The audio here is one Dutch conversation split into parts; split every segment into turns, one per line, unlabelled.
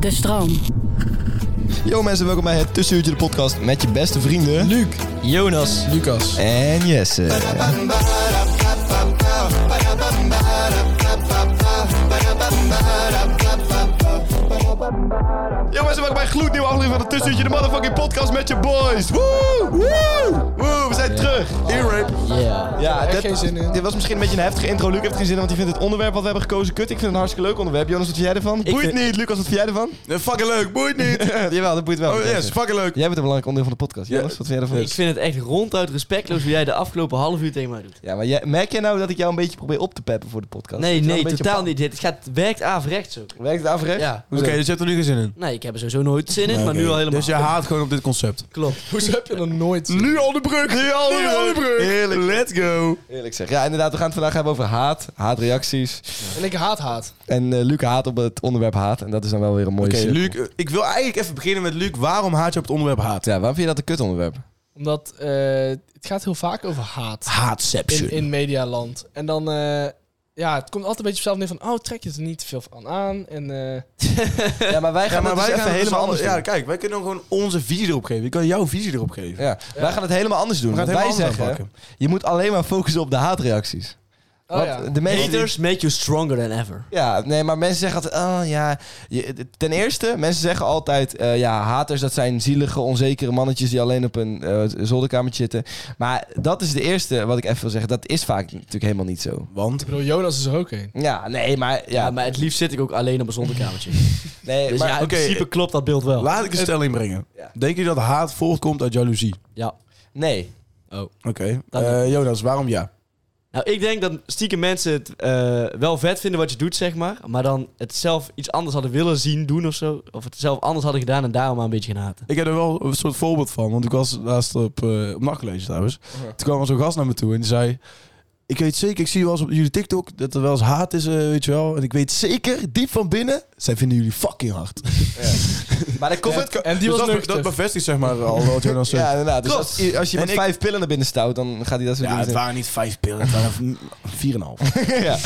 De stroom.
Yo mensen, welkom bij het Tussenuurtje de podcast met je beste vrienden... Luc, Jonas
Lucas.
en Jesse. Yo mensen, welkom bij een gloednieuwe aflevering van het Tussenuurtje de motherfucking podcast met je boys. Woe, woe, woe, we zijn terug.
Earrape.
Ja,
echt
dit-
geen zin in.
Dit was misschien een beetje een heftige intro. Luc heeft geen zin in, want hij vindt het onderwerp wat we hebben gekozen kut. Ik vind het een hartstikke leuk onderwerp. Jonas, wat vind jij ervan? boeit
vind-
niet. Lucas, wat vind jij ervan?
Nee, Eh, fucking leuk, boeit niet.
Jawel, dat boeit wel.
Oh yes, fucking leuk.
Jij bent een belangrijk onderdeel van de podcast. Jonas, wat vind jij ervan?
Ik vind het echt ronduit respectloos hoe jij de afgelopen half uur tegen mij doet.
Ja, maar jij, merk jij nou dat ik jou een beetje probeer op te peppen voor de podcast?
Nee,
Dat je wel
nee,
een beetje
totaal
op-
niet. Het gaat, werkt averechts zo.
Werkt het averechts?
Ja.
Hoezo?
dus je hebt er nu geen zin in.
Nee, ik heb er sowieso nooit zin in, maar nu al helemaal.
Dus je haat gewoon op dit concept.
Klopt.
Hoezo heb je er nooit Nu al de brug. Nu al
Nu al de brug.
Heerlijk. Let's go.
Eerlijk zeg. Ja, inderdaad, we gaan het vandaag hebben over haat, haatreacties.
En ik haat haat.
En eh Luc haat op het onderwerp haat. En dat is dan wel weer een mooie
Oké,
cirkel.
Luc. eh, Ik wil eigenlijk even beginnen met Luc. Waarom haat je op het onderwerp haat?
Ja, waarom vind je dat een kut onderwerp?
Omdat eh, het gaat heel vaak over haat in,
Haatception.
in medialand. En dan, eh, ja, het komt altijd een beetje vanzelf neer van, oh, trek je er niet veel van aan. En eh,
Ja, maar wij gaan
Ja, maar
het dus
wij
even
gaan
helemaal anders doen.
Ja, kijk, wij kunnen gewoon onze visie erop geven. Ik kan jouw visie erop geven.
Ja, wij gaan het helemaal anders doen.
We gaan het
Want wij
helemaal anders
zeggen, je moet alleen maar focussen op de haatreacties.
oh
Want
ja.
de mensen die-
Haters make you stronger than ever.
Ja, nee, maar mensen zeggen altijd, oh ja. je- ten eerste, mensen zeggen altijd, eh, ja, haters, dat zijn zielige, onzekere mannetjes die alleen op een eh, zolderkamertje zitten. Maar dat is de eerste wat ik even wil zeggen. Dat is vaak natuurlijk helemaal niet zo.
Want...
Ik bedoel, Jonas is er ook een.
Ja, nee, maar.
Ja,
Ja,
maar het liefst zit ik ook alleen op een zolderkamertje.
nee,
Dus
maar,
ja, in
oké,
principe klopt dat beeld wel.
Laat ik een stelling brengen.
Ja.
Denk je dat haat voortkomt uit jaloezie?
Ja.
nee.
Oké.
Dat-
Eh, Jonas, waarom ja?
Nou, ik denk dat stiekem mensen het eh, wel vet vinden wat je doet, zeg maar. Maar dan het zelf iets anders hadden willen zien doen of zo. Of het zelf anders hadden gedaan en daarom maar een beetje gaan haten.
Ik heb er wel een soort voorbeeld van, want ik was laatst op, eh op nachtcollege trouwens. Toen kwam er zo'n gast naar me toe en die zei... Ik weet zeker, ik zie wel eens op jullie TikTok dat er wel eens haat is, eh, weet je wel. En ik weet zeker, diep van binnen, zij vinden jullie fucking hard. Dus
Maar dan komt het.
En die was
dat,
nuchter.
dat bevestigt zeg maar al wat Jonas zegt.
Ja,
Ja,
inderdaad. Dus
Klopt.
als, i- als je
En
met
ik-
vijf pillen naar binnen stout, dan gaat hij dat soort
het
dingen
waren niet vijf pillen, het waren v- vier en een half.
zeggen. ja.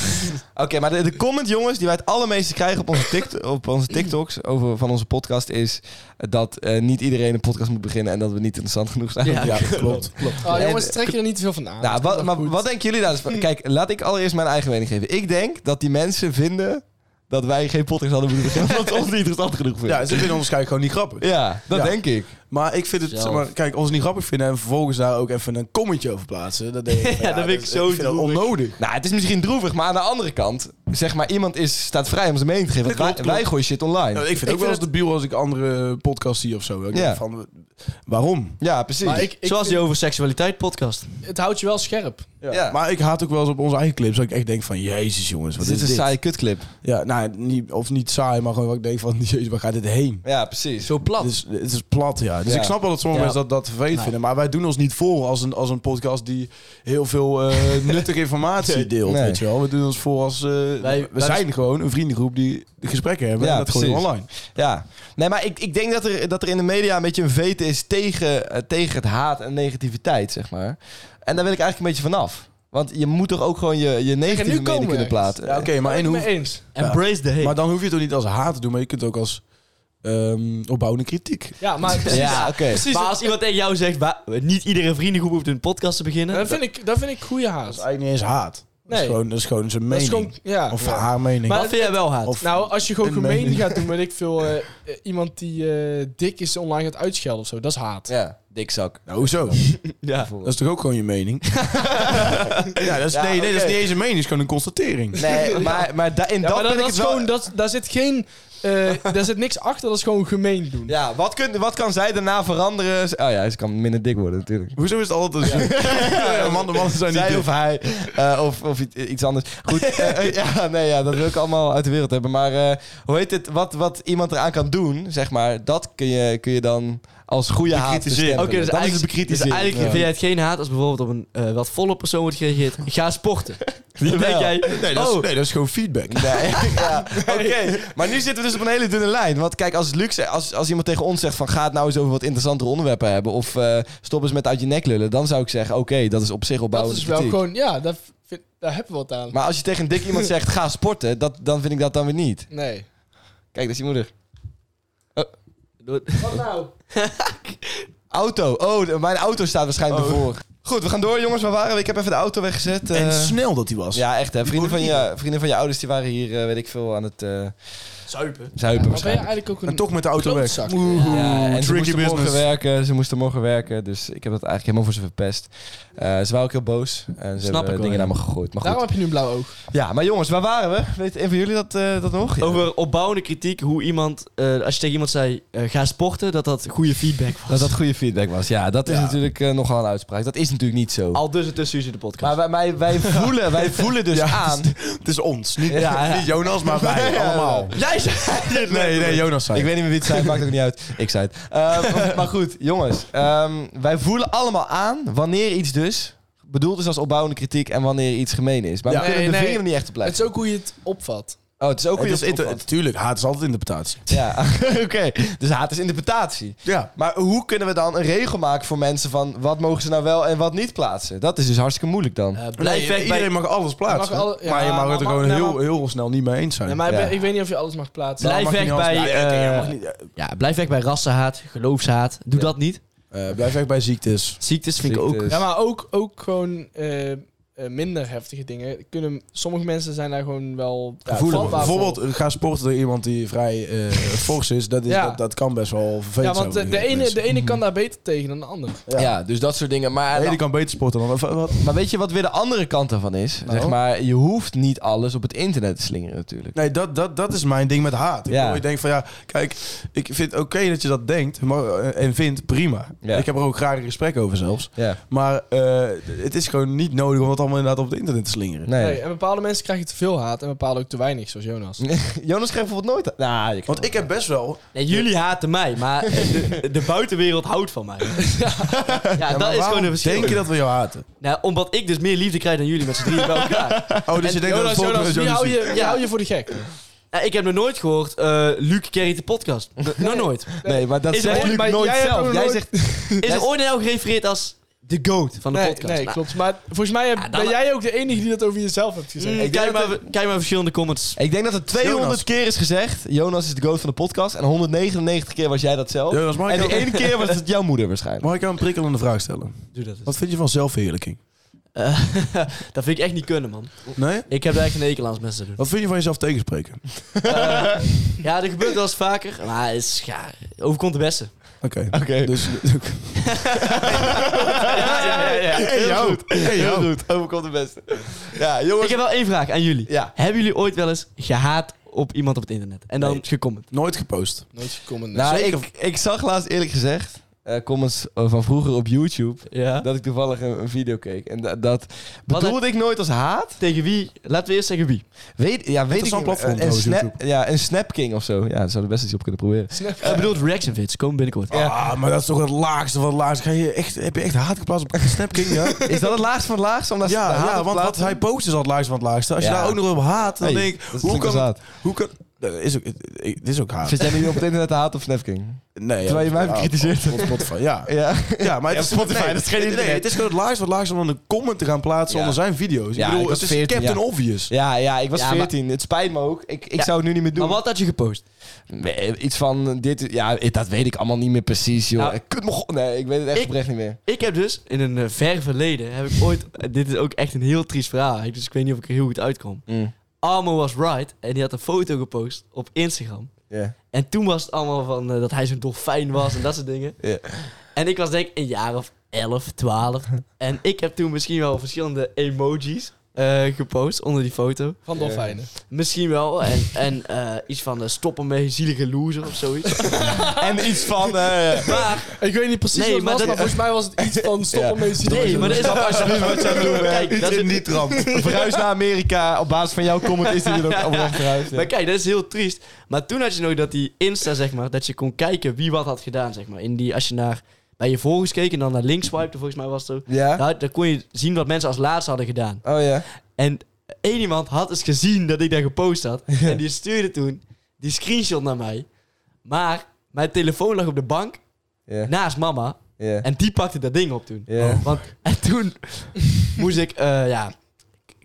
Oké, maar de, de comment, jongens, die wij het allermeeste krijgen op onze, tikt op onze TikToks over, van onze podcast is dat eh, niet iedereen een podcast moet beginnen en dat we niet interessant genoeg zijn.
Ja.
Ja, klopt. klopt.
Oh, jongens, trek je er niet te veel van aan.
Nou,
Dat komt
wat,
wel
maar
goed.
wat denken jullie daar? dus van? Kijk, laat ik allereerst mijn eigen mening geven. Ik denk dat die mensen vinden dat wij geen podcast hadden moeten beginnen, omdat we ons niet interessant genoeg vinden.
Ja, ze vinden ons waarschijnlijk gewoon niet grappig.
Ja, dat
Ja.
denk ik.
Maar ik vind het,
Zelf.
zeg maar, kijk, als ze niet grappig vinden en vervolgens daar ook even een commentje over plaatsen. Dat, denk ik, van,
Ja, dat vind ik zo
vind dat
droevig.
onnodig.
Nou, het is misschien droevig, maar aan de andere kant, zeg maar, iemand is, staat vrij om zijn mening te geven.
Dat
Want wij,
klopt, klopt.
wij gooien shit online.
Ja, ik vind het ook wel eens debiel als ik andere podcasts zie of zo. Ik
Ja.
denk van, waarom?
Ja, precies.
Maar ik, ik
Zoals die
vind-
over seksualiteit podcast.
het houdt je wel scherp.
Ja.
Maar ik haat ook wel eens op onze eigen clips. Dat ik echt denk van, jezus jongens, wat
dit is
is
een
dit?
saaie kutclip.
Ja, nou, niet, of niet saai, maar gewoon wat ik denk van, jezus, waar gaat dit heen?
Ja, precies.
Zo
Oh.
plat.
Het is, het is plat, ja. Dus
Ja.
ik snap wel dat sommige
Ja.
mensen dat, dat vervelend
Nee.
vinden. Maar wij doen ons niet voor als een, als een podcast die heel veel eh, nuttige informatie deelt.
Nee.
Weet je wel? We doen ons voor als... eh,
Wij-
we
wij-
zijn gewoon een vriendengroep die gesprekken hebben.
Ja,
en dat gooien we
precies.
online.
Ja. Nee, maar ik, ik denk dat er, dat er in de media een beetje een veete is tegen, eh, tegen het haat en negativiteit, zeg maar. En daar wil ik eigenlijk een beetje vanaf. Want je moet toch ook gewoon je, je negatieve
komen
mening
we
kunnen
ergens.
plaatsen.
Ja, oké, maar
Ik
in
ben
hoe,
het mee eens.
Embrace the hate.
Eh, Maar dan hoef je het ook niet als haat te doen, maar je kunt het ook als ehm, opbouwende kritiek.
Ja, maar precies.
Ja, oké.
precies
maar
dat-
als iemand tegen jou zegt, "Wa- niet iedere vriendengroep hoeft een podcast te beginnen.
dat, vind ik, dat vind ik goede haat.
eigenlijk niet eens haat. Dat is
Nee.
gewoon, dat is gewoon zijn
Dat is
mening.
gewoon, ja.
Of
Ja.
haar mening.
Maar
Maar
Wat vind jij wel haat?
Of-
Nou, als je gewoon
Een
gemeen
mening.
gaat doen, weet ik veel, eh, eh, iemand die eh, dik is online gaat uitschelden of zo, dat is haat.
Ja, dikzak.
Nou, hoezo?
ja.
Dat is toch ook gewoon je mening? ja, dat is,
Ja,
nee, nee, dat is
oké.
niet eens een mening. Dat is gewoon een constatering.
Nee, maar, maar da- in
Ja,
dat
maar dat,
ben ik
dat
het
is
wel...
gewoon, dat, daar zit geen, eh, daar zit niks achter, dat is gewoon gemeen doen.
Ja, wat, kun, wat kan zij daarna veranderen? Z- Oh ja, ze kan minder dik worden natuurlijk.
Hoezo is het altijd een ja, mannen, mannen zijn niet
Zij
deel
of hij, eh, of, of iets- iets anders. Goed, eh, eh, ja, nee, ja, dat wil ik allemaal uit de wereld hebben. Maar eh, hoe heet het, wat, wat iemand eraan kan doen, zeg maar, dat kun je, kun je dan als goede haat
Bekritiseren.
bestempelen.
Oké, dus,
dan is het
eigenlijk- dus
bekritiseren.
eigenlijk vind jij het geen haat als bijvoorbeeld op een eh, wat volle persoon wordt gereageerd. Ga sporten. Dan denk jij,
Nee, dat is,
oh,
nee, dat is gewoon feedback.
Nee, ja. Oké, maar nu zitten we dus op een hele dunne lijn. Want kijk, als, Luc, zegt- als, als iemand tegen ons zegt van... ga het nou eens over wat interessantere onderwerpen hebben... of eh, stop eens met uit je nek lullen... dan zou ik zeggen, oké, dat is op zich
dat
opbouwend
is wel
kritiek.
gewoon, ja, daar, vind- daar hebben we wat aan.
Maar als je tegen een dik iemand zegt, ga sporten... Dat, dan vind ik dat dan weer niet.
nee.
Kijk, dat is je moeder.
Wat nou?
Auto. Oh, de- mijn auto staat waarschijnlijk ervoor. Oh. Goed, we gaan door jongens. Waar waren we? Ik heb even de auto weggezet.
En
eh.
snel dat hij was.
ja, echt hè. Vrienden van, je, vrienden van je ouders die waren hier, eh, weet ik veel, aan het eh
zuipen.
zuipen
Maar ben je
waarschijnlijk.
eigenlijk ook een
En toch met de auto weg.
klootzak?
Ja, en ze
tricky
moesten morgen
business.
werken. Ze moesten morgen werken. Dus ik heb dat eigenlijk helemaal voor ze verpest. Eh, ze waren ook heel boos. En ze
Snap
hebben
ik wel,
dingen
ja.
naar me gegooid. Maar
Daarom
goed.
heb je nu een blauw oog.
Ja, maar jongens, waar waren we? Weet een van jullie dat, eh, dat nog? Ja.
Over opbouwende kritiek, hoe iemand, eh, als je tegen iemand zei, eh, ga sporten, dat dat goede feedback was.
Dat dat goede feedback was. Ja, dat is
Ja.
natuurlijk eh, nogal een uitspraak. Dat is natuurlijk niet zo.
Al dus het tussen de podcast.
Maar wij, wij, wij voelen, wij voelen dus
Ja,
aan.
het is- Het is ons. Niet,
Ja, ja.
niet Jonas, maar wij
Ja,
allemaal.
Jij zei dit
Nee, nee, Jonas zei
Ik
het.
weet niet meer wie het zei, maakt ook niet uit. Ik zei het. Ehm, maar goed, jongens. ehm, wij voelen allemaal aan wanneer iets dus bedoeld is als opbouwende kritiek en wanneer iets gemeen is. Maar
Ja.
we kunnen
Nee,
de
nee.
vinger er niet echt op
Het
blijven.
is ook hoe je het opvat.
Oh, het is ook
Het
weer
is inter- Tuurlijk, haat is altijd interpretatie.
Ja, oké. Dus haat is interpretatie.
Ja.
Maar hoe kunnen we dan een regel maken voor mensen van wat mogen ze nou wel en wat niet plaatsen? Dat is dus hartstikke moeilijk dan.
Eh,
Blijf weg bij...
iedereen mag alles plaatsen.
mag alle- ja,
maar je mag
maar-
het er gewoon
maar-
heel,
maar-
heel snel niet mee eens zijn.
Nee, maar ik
Ja.
ben- ik weet niet of je alles mag plaatsen.
Dat
Blijf
mag
weg
niet anders.
bij,
Ja, oké, ja,
eh,
mag niet.
Ja, blijf weg bij rassenhaat, geloofshaat. Doe dat niet.
Eh, blijf weg bij ziektes.
Ziektes vind ik ook...
Ziektes.
Ja, maar ook, ook gewoon eh, eh, minder heftige dingen. Kunnen, sommige mensen zijn daar gewoon wel ja,
Gevoelig.
vatbaar voor.
Bijvoorbeeld, eh, ga sporten door iemand die vrij eh fors is. Dat, is
Ja.
dat, dat kan best wel
Ja,
vervelend zijn.
want eh, de,
voor
ene,
mensen.
de ene kan daar beter tegen dan de ander.
Ja. dus dat soort dingen. Maar,
De ene kan beter sporten dan... Wat?
maar weet je wat weer de andere kant daarvan is?
Nou?
Zeg maar, je hoeft niet alles op het internet te slingeren natuurlijk.
Nee, dat, dat, dat is mijn ding met haat. Ik,
Ja.
bedoel, ik denk van ja, kijk, ik vind het oké dat je dat denkt maar, eh, en vindt, prima.
Ja.
Ik heb er ook graag een gesprek over zelfs.
Ja.
Maar eh, het is gewoon niet nodig om het allemaal inderdaad op het internet te slingeren.
Nee.
Nee, en bepaalde mensen krijgen te veel haat en bepaalde ook te weinig, zoals Jonas.
Jonas krijgt bijvoorbeeld nooit... Nou, je krijgt-
Want ik heb best wel...
Nee, jullie haten mij, maar de, de buitenwereld houdt van mij. Ja,
Ja, maar
dat is
waarom
gewoon een verschil.
denk je dat we jou haten?
Nou, omdat ik dus meer liefde krijg dan jullie met z'n drieën bij elkaar.
Oh, dus
En
je denkt
Jonas,
dat het volk
Jonas,
met
wie
Jonas
Die hou
is.
je, die hou je voor de gek.
Nou, ik heb nog nooit gehoord, eh Luc carryt de podcast. Nog nooit.
Nee, maar dat
Is
zegt
er-
Luc
maar
nooit
jij hebt
zelf.
ook
Jij
nooit-
zegt...
Is er ooit naar jou gerefereerd als de goat van de
nee,
podcast?
nee,
Nou,
klopt. Maar volgens mij heb-
Ja, dan-
ben jij ook de enige die dat over jezelf hebt gezegd.
mm,
Ik denk
kijk,
dat
maar, kijk maar verschillende comments.
Ik denk dat er 200
Jonas.
keer is gezegd... Jonas is de goat van de podcast. En 199 keer was jij dat zelf.
Jonas, mag ik,
en die
jou,
ene keer was het jouw moeder waarschijnlijk.
mag ik jou een prikkelende vraag stellen?
Doe dat eens.
Wat vind je van zelfverheerlijking?
dat vind ik echt niet kunnen, man.
Nee?
Ik heb daar echt een ekel aan als mensen dat doen.
Wat vind je van jezelf tegenspreken?
Eh, ja, dat gebeurt wel eens vaker, maar het is, ja, overkomt de beste.
Oké.
Oké.
Dus,
ja, ja, ja, ja.
Heel
jou.
goed.
Hey,
Heel
jou.
goed. Overkomt de beste. Ja, jongens.
Ik heb wel één vraag aan jullie.
Ja.
Hebben jullie ooit wel eens gehaat op iemand op het internet? En dan
Nee.
gecomment?
nooit gepost.
Nooit gekomen.
Nou,
Zeker.
ik, ik zag laatst eerlijk gezegd eh, comments eh, van vroeger op YouTube...
Ja.
dat ik toevallig een, een video keek. En da- dat
Wat
bedoelde ik nooit als haat.
Tegen wie? Laten we eerst zeggen wie.
Weet, ja, weet ik
Interessant
niet.
platform
en,
trouwens,
snap,
YouTube.
ja, en Snapking of zo. Ja, daar zouden we best iets op kunnen proberen.
Snap.
Eh, Ik bedoel, reaction vids komen binnenkort.
Ah, maar dat is toch het laagste van het laagste. Ga je echt, heb je echt haat geplaatst op Snapking? Ja,
Is dat het laagste van het laagste? Om daar
ja,
te haat
ja,
op
want
te
wat
plaatsen?
hij post is al het laagste van het laagste. Als je
Ja.
daar ook nog op haat, dan
Hey,
denk ik...
dat
Hoe
klinkt
kan,
als
het-
haat.
hoe kan... Dat is ook, dit is ook haat.
Vind jij nu op het internet haat of Snapking?
Nee,
Terwijl je mij
ja,
bekritiseert.
op- op Spotify, ja.
Ja.
Ja, maar het
Ja,
is,
Spotify,
nee,
dat is geen
nee,
internet.
Nee, het is gewoon het laagste wat laagste om dan een comment te gaan plaatsen
Ja.
onder zijn video's.
Ja,
ik bedoel,
ik was
het is
14,
Captain
ja.
Obvious.
Ja, ja, ik was
Ja, maar-
14. Het spijt me ook. Ik, ik
Ja.
zou het nu niet meer doen.
Maar wat had je gepost?
Nee, Iets van dit... Ja, ik- dat weet ik allemaal niet meer precies, joh.
Nou,
ik kut me... go- Nee, ik weet het echt
ik-
oprecht niet meer.
Ik heb dus in een eh, ver verleden, heb ik ooit... eh, dit is ook echt een heel triest verhaal, dus ik weet niet of ik er heel goed uitkom.
Mm.
Armo was right en die had een foto gepost op Instagram.
Ja.
En toen was het allemaal van eh, dat hij zo'n dolfijn was en dat soort dingen.
Ja.
En ik was denk ik een jaar of 11, 12. En ik heb toen misschien wel verschillende emojis eh, gepost onder die foto.
Van dolfijnen.
Misschien wel. En, en eh, iets van eh, stoppen met zielige loser of zoiets.
En iets van... eh,
Maar,
Ik weet niet precies wat
Nee,
het
maar
was,
dat-
maar volgens mij was het iets van stoppen
Ja.
met je
nee, maar dat is alsjeblieft wat je doen Kijk, dat is,
niet
Verhuis naar Amerika. Op basis van jouw comment is hij er ook oprecht verhuisd.
maar kijk, dat is heel triest. Maar toen had je nog dat die Insta, zeg maar, dat je kon kijken wie wat had gedaan, zeg maar. In die, als je naar, bij je volgers keek en dan naar links swipte, volgens mij was het zo.
Ja?
Nou, dan kon je zien wat mensen als laatste hadden gedaan.
Oh ja.
En één iemand had eens gezien dat ik daar gepost had. En die stuurde toen die screenshot naar mij. Maar mijn telefoon lag op de bank
Ja.
naast mama.
Ja.
En die pakte dat ding op toen. Oh,
Ja.
Want, en toen moest ik eh, ja,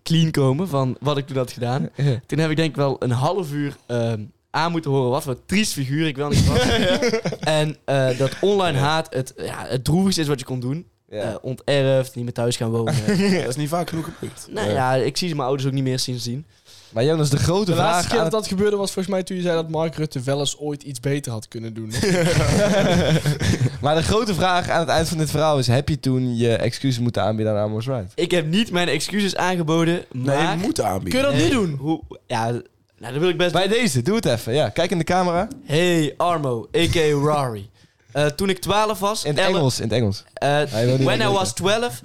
clean komen van wat ik toen had gedaan.
Ja.
Toen heb ik denk ik wel een half uur ehm, aan moeten horen wat voor een triest figuur ik wel niet was. En eh, dat online haat het, ja, het droevigste is wat je kon doen. Eh,
Ja.
onterfd, niet meer thuis gaan wonen.
Dat is niet vaak genoeg gebeurd.
nou ja, ik zie mijn ouders ook niet meer sindsdien.
Maar Jonas, de grote
De laatste
vraag...
keer
aan
dat dat gebeurde was volgens mij toen je zei dat Mark Rutte wel eens ooit iets beter had kunnen doen.
Maar de grote vraag aan het eind van dit verhaal is... Heb je toen je excuses moeten aanbieden aan Amos Wright?
Ik heb niet mijn excuses aangeboden,
Nee,
maar...
je moet aanbieden.
Kun je dat
Nee,
niet doen?
Hoe, ja, nou, dat wil ik best
Bij deze, doe het even. Ja, kijk in de camera.
Hey Armo, a.k.a. Rari. Eh, toen ik 12 was...
In het
elle-
Engels, in het Engels.
eh,
Hij wil niet
when I
weten.
was 12,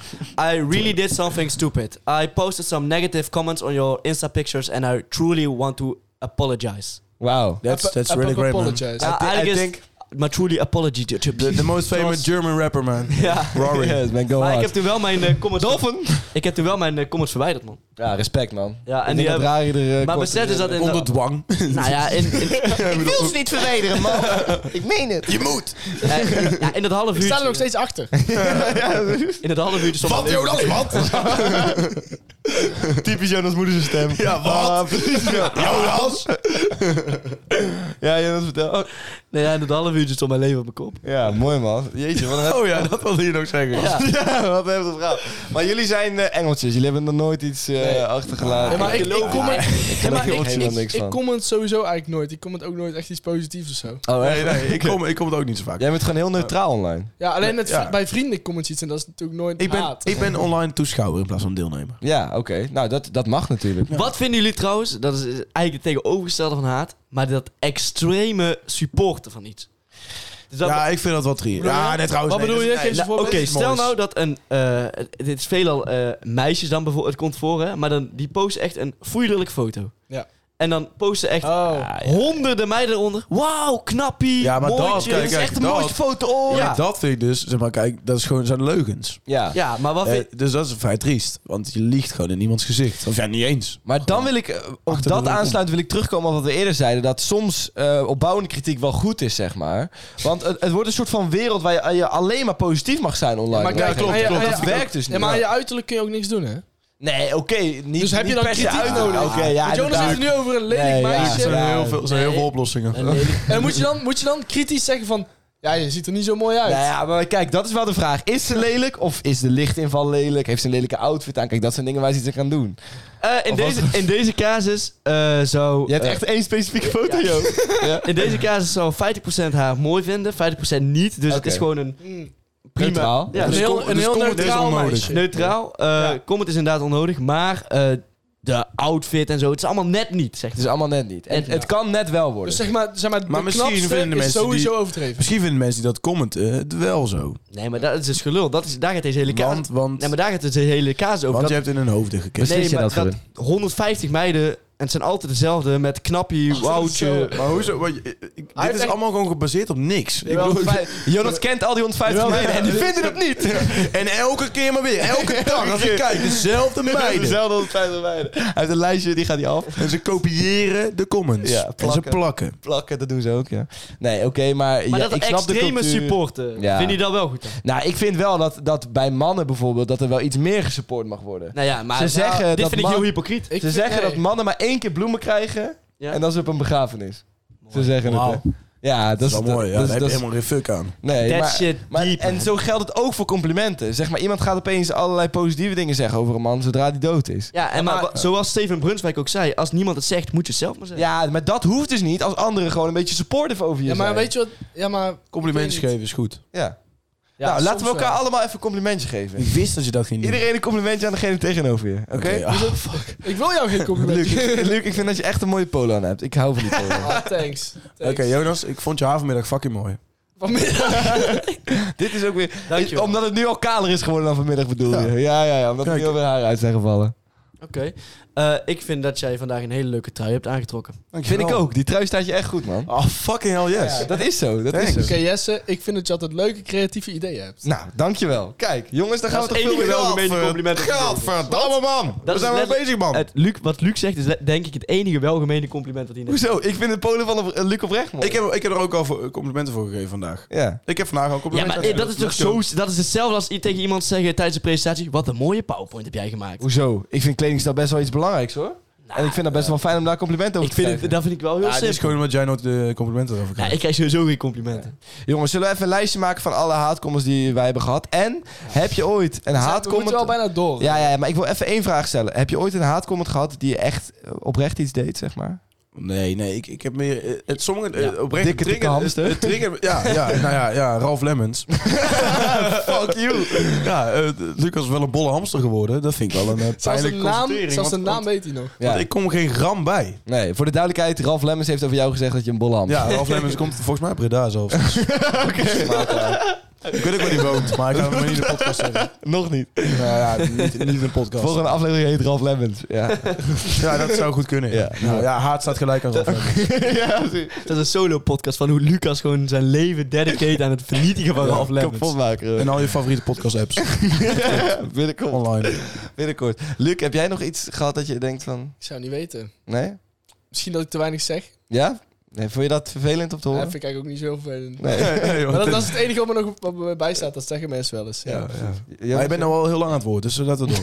I really did something stupid. I posted some negative comments on your Insta pictures and I truly want to apologize.
Wauw.
That's, that's really great, man.
Apologize.
Ja,
thi- I
eigenlijk is
think-
het maar truly apology to, to-
The, the most famous
Zoals-
German rapper, man.
Ja,
Rory.
Yes, man, go
maar ik
hard.
heb toen wel mijn eh, comments... Ik heb toen wel mijn eh, comments verwijderd, man.
Ja, respect, man.
Ja, en
Ik
die
denk dat
hebben-
Rari er... eh,
maar
kort-
besef dus dat in...
Onder dwang.
nou ja, in, in,
Ik wil ze niet verwijderen, man. ik meen het.
Je moet!
eh, ja, in dat half
Ik
uurtje...
sta er nog steeds achter.
In dat half uurtje stond mijn-
Jonas, wat?
Typisch Jonas moeder zijn stem.
Ja, wat?
Ah, precies, ja.
Jonas!
ja, Jonas, vertel. Oh,
Nee, ja, in dat half uurtje stond mijn leven op mijn kop.
Ja, mooi, man. Jeetje, wat een
Oh ja, dat wilde je nog zeggen.
Ja.
Ja, wat een heftig verhaal. Maar jullie zijn eh, Engeltjes. Jullie hebben nog nooit iets eh, achtergelaten.
Ja, maar ik, ik,
geloof
comment, ja, maar
er
ik,
helemaal
ik-
niks
ik
van.
comment sowieso eigenlijk nooit. Ik comment ook nooit echt iets positiefs of zo.
Oh,
Nee, nee, ik kom, ik kom het ook niet zo vaak.
Jij bent gewoon heel neutraal online.
Ja, alleen het,
Ja.
bij vrienden comments iets en dat is natuurlijk nooit
Ik ben,
haat.
ik ben online toeschouwer in plaats van deelnemer.
Ja, oké. Nou, dat, dat mag natuurlijk.
Wat vinden jullie trouwens, dat is eigenlijk het tegenovergestelde van haat, maar dat extreme supporten van iets? Dus dat-
Ja, ik vind dat wel trier.
Bedoel je?
Ja, nee, trouwens.
Wat
nee,
bedoel
dat-
je?
nee,
Geef
nou,
eens
Nou, Oké,
voorbeeld.
stel nou dat een, eh, het- dit is veelal eh, meisjes dan bijvoorbeeld, het komt voor hè, maar dan, die posten echt een foeilijk foto.
Ja.
En dan posten echt ah,
Oh.
honderden meiden eronder, wauw, knappie,
Ja, maar
mooi,
dat-
chick."
kijk,
is echt-
Echt de mooiste foto ooit.
Ja.
Ja, dat vind ik dus, zeg maar, kijk, dat is gewoon, zijn leugens.
Ja.
Ja, maar wat vind
Eh, dus dat is vrij triest, want je liegt gewoon in iemands gezicht. Of ja, niet eens.
Maar dan wil ik, eh, op
Achter de
dat
rug om.
aansluit wil ik terugkomen op wat we eerder zeiden. Dat soms eh, opbouwende kritiek wel goed is, zeg maar. Want het, het wordt een soort van wereld waar je, eh, je alleen maar positief mag zijn online.
maar kijk,
klopt,
aan je-
klopt.
aan
Dat
je-
werkt dus niet.
Ja, maar aan je uiterlijk kun je ook niks doen, hè?
Nee, oké. niet,
Dus heb je
niet
dan
per se
kritiek
uit-
nodig?
Oké, ja,
Want Jonas
inderdaad.
heeft het nu over een lelijk
Nee, ja.
Er
meisje.
zijn,
Ja.
heel veel, er zijn heel veel oplossingen.
Een lelijk-
En moet je, dan, moet je dan kritisch zeggen van... Ja, je ziet er niet zo mooi uit.
Nou ja, maar kijk, dat is wel de vraag. Is ze lelijk of is de lichtinval lelijk? Heeft ze een lelijke outfit aan? Kijk, dat zijn dingen waar ze iets aan gaan doen.
Eh, in,
Of wat-
deze, in deze casus eh, zou...
Je hebt
eh,
echt één specifieke foto, joh.
In deze casus zou 50% haar mooi vinden, 50% niet. Dus het
Oké.
is gewoon een
Mm.
prima...
Neutraal.
Ja,
een
Dus
heel,
kom-
een
dus
heel
kom met
neutraal
deze onnodig.
meisje.
Neutraal. eh
Ja.
Comment is inderdaad onnodig, maar eh, de outfit en zo, het is allemaal net niet, zegt
Het
ze.
is allemaal net niet. En
Net
het kan net wel worden.
Dus zeg maar, zeg maar,
Maar
de
misschien
knapste
vinden
is
mensen die-
sowieso overdreven.
Misschien vinden mensen die dat commenten het wel zo.
Nee, maar dat is dus gelul. Dat is, daar gaat deze hele kaas...
Want, want,
Nee, maar daar gaat deze hele kaas over.
want je
dat,
hebt in hun hoofden gekeken.
Beslis je
nee, maar
dat
dat 150 meiden, en het zijn altijd dezelfde, met knappie,
dat is
woutje.
Maar hoezo? Want je- ik- ik-
Hij
dit is
heeft echt-
allemaal gewoon gebaseerd op niks. Ik
Jawel,
bedoel,
fijn.
Jonas kent al die 150
Jawel,
meiden en die
ja.
vinden het niet.
en elke keer maar weer. Elke dag als ik kijk, dezelfde meiden.
Dezelfde 150 meiden. Hij heeft een lijstje, die gaat hij af.
En ze kopiëren de comments.
Ja,
en ze
plakken.
plakken.
Plakken, dat doen ze ook, ja. Nee, oké, maar,
Maar
ja,
dat
ik snap de
extreme
cultuur.
supporten,
Ja.
vind je dat wel goed dan?
Nou, ik vind wel dat, dat bij mannen bijvoorbeeld... dat er wel iets meer gesupport mag worden.
Nou ja, maar
Ze zeggen
dit
dat
vind
man-
ik heel hypocriet.
Ik
Ze
vind-
zeggen
nee.
dat mannen maar één keer bloemen krijgen...
Ja.
en dat is op een begrafenis. Ze
Mooi.
zeggen
Wauw.
het, hè. Ja, dat,
Dat is wel
dat-
mooi. Ja,
dat,
daar heb
is-
je
dat is-
helemaal geen fuck aan.
Nee,
That
maar,
shit
maar-
deep,
en
man.
zo geldt het ook voor complimenten. Zeg maar, iemand gaat opeens allerlei positieve dingen zeggen over een man zodra die dood is.
Ja, en maar,
Maar-
zoals Steven Brunswijk ook zei, als niemand het zegt, moet je het zelf maar zeggen.
Ja, maar dat hoeft dus niet als anderen gewoon een beetje supportive over je
Ja, maar
zijn.
weet je wat? Ja, maar...
Complimentjes
Ik weet
geven is goed.
Ja.
Ja,
nou, laten we
soms
elkaar
wel.
allemaal even een complimentje geven.
Ik wist dat je dat ging doen.
Iedereen een complimentje aan degene tegenover je. Oké?
Oké, ah,
Ik wil jou geen compliment
Luc,
geven.
ik- Luc, ik vind dat je echt een mooie polo aan hebt. Ik hou van die polo.
Ah, thanks. thanks.
Oké, Jonas, ik vond je havenmiddag fucking mooi.
Vanmiddag.
Dit is ook weer...
Dankjewel.
Omdat het nu al kaler is geworden dan vanmiddag bedoel
Ja.
je. Ja, ja, ja. Omdat er
Kijk.
heel weer haar uit zijn gevallen.
Oké. Eh, ik vind dat jij vandaag een hele leuke trui hebt aangetrokken.
Vind ik ook. Die trui staat je echt goed, man.
Ah, fucking hell yes.
Ja.
Dat is zo. Dat
Thanks.
is
Oké,
zo.
Jesse, ik vind dat je altijd leuke creatieve ideeën hebt.
Nou, dankjewel. Kijk, jongens, daar gaan we
Dat
toch
is
veel
het
meer
enige
over.
welgemeende compliment dat ik geef.
Gadverdamme, man.
Dat
Daar
is
zijn we
net- Eh,
mee bezig, man.
Het, Luc, wat Luc zegt is le- denk ik het enige welgemeende compliment wat hij net
Hoezo? Ik vind de polo van eh, Luc oprecht, man.
Ik heb, ik heb er ook al voor- complimenten voor gegeven vandaag.
Ja.
Ik heb vandaag al
Ja,
complimenten
maar eh, dat is toch
gegeven.
zo... Dat is hetzelfde als i- tegen iemand zeggen tijdens een presentatie... Wat een mooie PowerPoint heb jij gemaakt.
Hoezo? Ik vind kledingstijl best wel iets belangrijks, hoor. en ik vind dat best wel fijn om daar complimenten over
Ik
te
vind
krijgen.
het, dat vind ik wel heel
Ja, het is
simpel.
gewoon omdat jij nooit de complimenten erover
Ja,
krijgt.
ik krijg sowieso geen complimenten.
Jongens, zullen we even een lijstje maken van alle haatcomments die wij hebben gehad? En heb je ooit een
We moeten
haatcomment...
wel bijna door.
Ja, ja, maar ik wil even één vraag stellen. Heb je ooit een haatcomment gehad die je echt eh, oprecht iets deed, zeg maar?
Nee, nee, ik, ik heb meer... eh, Het, sommige... eh, oprecht,
Dikke,
het
dikke
triggerde-
hamster.
het- het triggerde- ja, ja, nou ja, ja, Ralph Lemmens.
Fuck you!
ja, eh, Lucas is wel een bolle hamster geworden. Dat vind ik wel een eh,
Zelfs de
pijnlijke
naam,
constatering,
zelfs de
want-
naam weet hij nog.
Ja.
Want ik kom geen gram bij.
Nee, voor de duidelijkheid, Ralf Lemmens heeft over jou gezegd dat je een bolle ham
Ja, Ralph Lemmens komt volgens mij uit Breda zelfs. Ik weet ook waar die woont, maar ik ga hem maar niet in de podcast zeggen.
Nog niet.
Nou ja, niet, niet in de podcast.
Volgende aflevering heet Ralf Lemmens. Ja.
Ja, dat zou goed kunnen. Ja,
Ja.
nou, ja haat staat gelijk aan Ralph Lemmens.
Dat is een solo-podcast van hoe Lucas gewoon zijn leven dedicate aan het vernietigen van Ralph Lemmens.
Kapotmaker.
En al je favoriete podcast-apps
binnenkort,
online.
binnenkort. Luc, heb jij nog iets gehad dat je denkt van...
Ik zou niet weten.
Nee?
Misschien dat ik te weinig zeg.
Ja? Nee, vond je dat vervelend om te
Dat
horen?
vind ik eigenlijk ook niet zo vervelend.
Nee.
Maar dat, dat is het enige wat me nog wat me bij staat. Dat zeggen mensen wel eens. Ja.
Ja, ja.
Ja,
Maar je bent nou al heel lang aan het woord, dus we laten het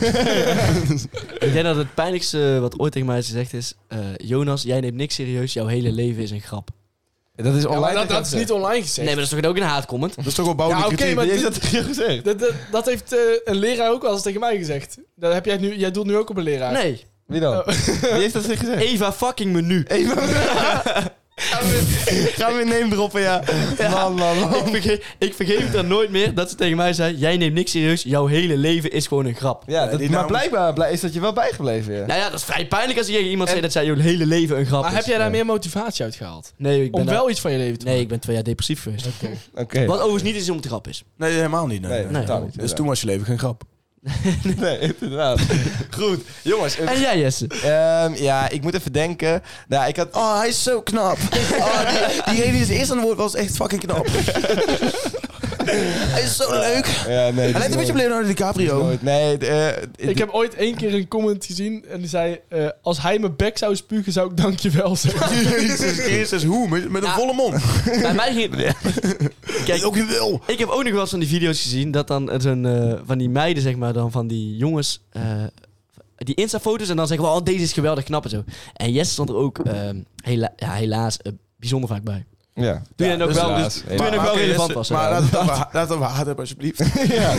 doen.
Ik denk dat het pijnlijkste wat ooit tegen mij is gezegd is... eh, Jonas, jij neemt niks serieus, jouw hele leven is een grap.
Dat is
Ja, maar
online.
dat, dat is niet online gezegd.
Nee, maar dat is toch ook een haatcomment?
Dat is toch wel bouwelijk
Ja, oké,
kritiek.
maar-
Je hebt dat tegen je gezegd.
dat, dat, dat heeft eh, een leraar ook wel eens tegen mij gezegd. Dat heb jij, nu, jij doelt nu ook op een leraar.
Nee,
Wie dan?
Oh.
Wie heeft dat tegen gezegd?
Eva fucking menu.
Even. Gaan we neem droppen, ja. Man, man, man.
Ik, verge ik vergeef het haar nooit meer dat ze tegen mij zei... Jij neemt niks serieus, jouw hele leven is gewoon een grap.
Ja, dat,
die
maar
naam-
blijkbaar blij- is dat je wel bijgebleven, ja.
Nou ja, dat is vrij pijnlijk als je tegen iemand zegt dat zij jouw hele leven een grap
Maar
is.
heb jij daar meer motivatie uit gehaald?
Nee, ik ben
Om
daar-
wel iets van je leven te
Nee, ik ben twee jaar depressief geweest.
Oké.
Wat overigens niet is om het grap is.
Nee, helemaal niet. Nee,
Nee,
nee.
totaal niet.
Dus toen was je leven geen grap.
Nee, inderdaad. Goed, jongens. eh,
En jij, Jesse?
ehm, ja, ik moet even denken. Nou, ik had...
Oh, hij is zo knap. Oh, die, diegene die het eerst aan het woord was, echt fucking knap. hij is zo leuk. Hij
Ja, nee.
lijkt een beetje op Leonardo DiCaprio.
Nooit. Nee, eh,
Ik heb ooit één keer een comment gezien en die zei... eh, als hij mijn bek zou spugen, zou ik dankjewel zeggen.
Jezus Christus, hoe? Met, met een
Ja.
volle mond.
Bij mij ging het- Kijk,
Ook je wil.
ik heb ook nog wel eens van die video's gezien dat dan eh, zo'n, eh, van die meiden, zeg maar, dan van die jongens, eh, die Insta-foto's en dan zeggen, wow, deze is geweldig knap en zo. En Jesse stond er ook ehm, hela- ja, helaas eh, bijzonder vaak bij.
Ja.
Toen je ook
dus
wel,
helaas,
dus, toen
helaas.
je ook wel
oké,
relevant
dus-
was.
Maar
ja.
laat het over- laat het over haat hebben, alsjeblieft.
ja.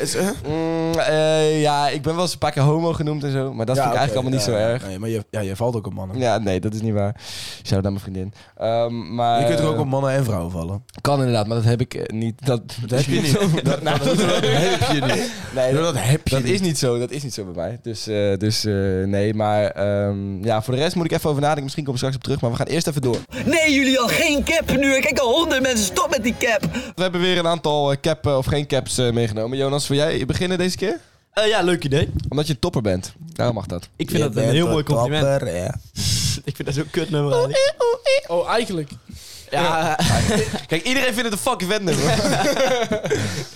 Is, hè?
Mm, eh, ja, ik ben wel eens een paar keer homo genoemd en zo. Maar dat
Ja,
vind
oké,
ik eigenlijk allemaal niet
ja,
zo
ja.
erg.
Nee, maar je, ja, je valt ook op mannen.
Ja, nee, dat is niet waar. Shout naar mijn vriendin. Ehm, maar,
je kunt er ook op mannen en vrouwen vallen.
Kan inderdaad, maar dat heb ik eh, niet. Dat,
Dat heb je niet.
Dat, nou, dat,
heb je niet.
nee, dat,
Dat heb je
dat
niet.
is niet zo. Dat is niet zo bij mij. Dus, eh, dus eh, nee, maar ehm, ja, voor de rest moet ik even over nadenken. Misschien kom ik straks op terug, maar we gaan eerst even door.
Nee, jullie al geen cap nu. Ik kijk al honderd mensen. Stop met die cap.
We hebben weer een aantal eh, cap eh, of geen caps eh, meegenomen. Jonas, wil jij beginnen deze keer?
Eh, ja, leuk idee.
Omdat je een topper bent. Daarom mag dat.
Ik vind dat een heel mooi compliment.
ja.
Ik vind dat zo'n kutnummer eigenlijk.
Oh, eigenlijk.
Ja,
Kijk, iedereen vindt het een fucking wending.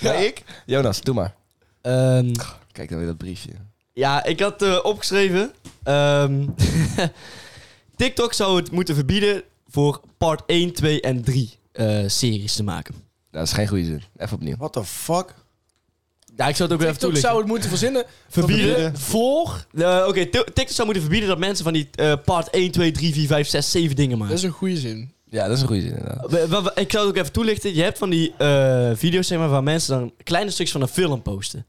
Maar ik? Jonas, doe maar.
ehm,
Kijk dan weer dat briefje. Nou,
ja ik had eh, opgeschreven... ehm, TikTok zou het moeten verbieden voor part 1, 2 en 3 eh, series te maken.
Dat is geen goede zin. Even opnieuw.
What the fuck?
Ja, ik zou het ook weer even
TikTok
toelichten.
zou het moeten verzinnen.
Verbieden.
Voor.
Eh, Oké, Ti- TikTok zou moeten verbieden dat mensen van die eh, part 1, 2, 3, 4, 5, 6, 7 dingen
Dat
maken.
is een goede zin.
Ja, dat is een goede zin inderdaad.
We- we- we- Ik zou het ook even toelichten. Je hebt van die eh, video's zeg maar, waar mensen dan kleine stukjes van een film posten.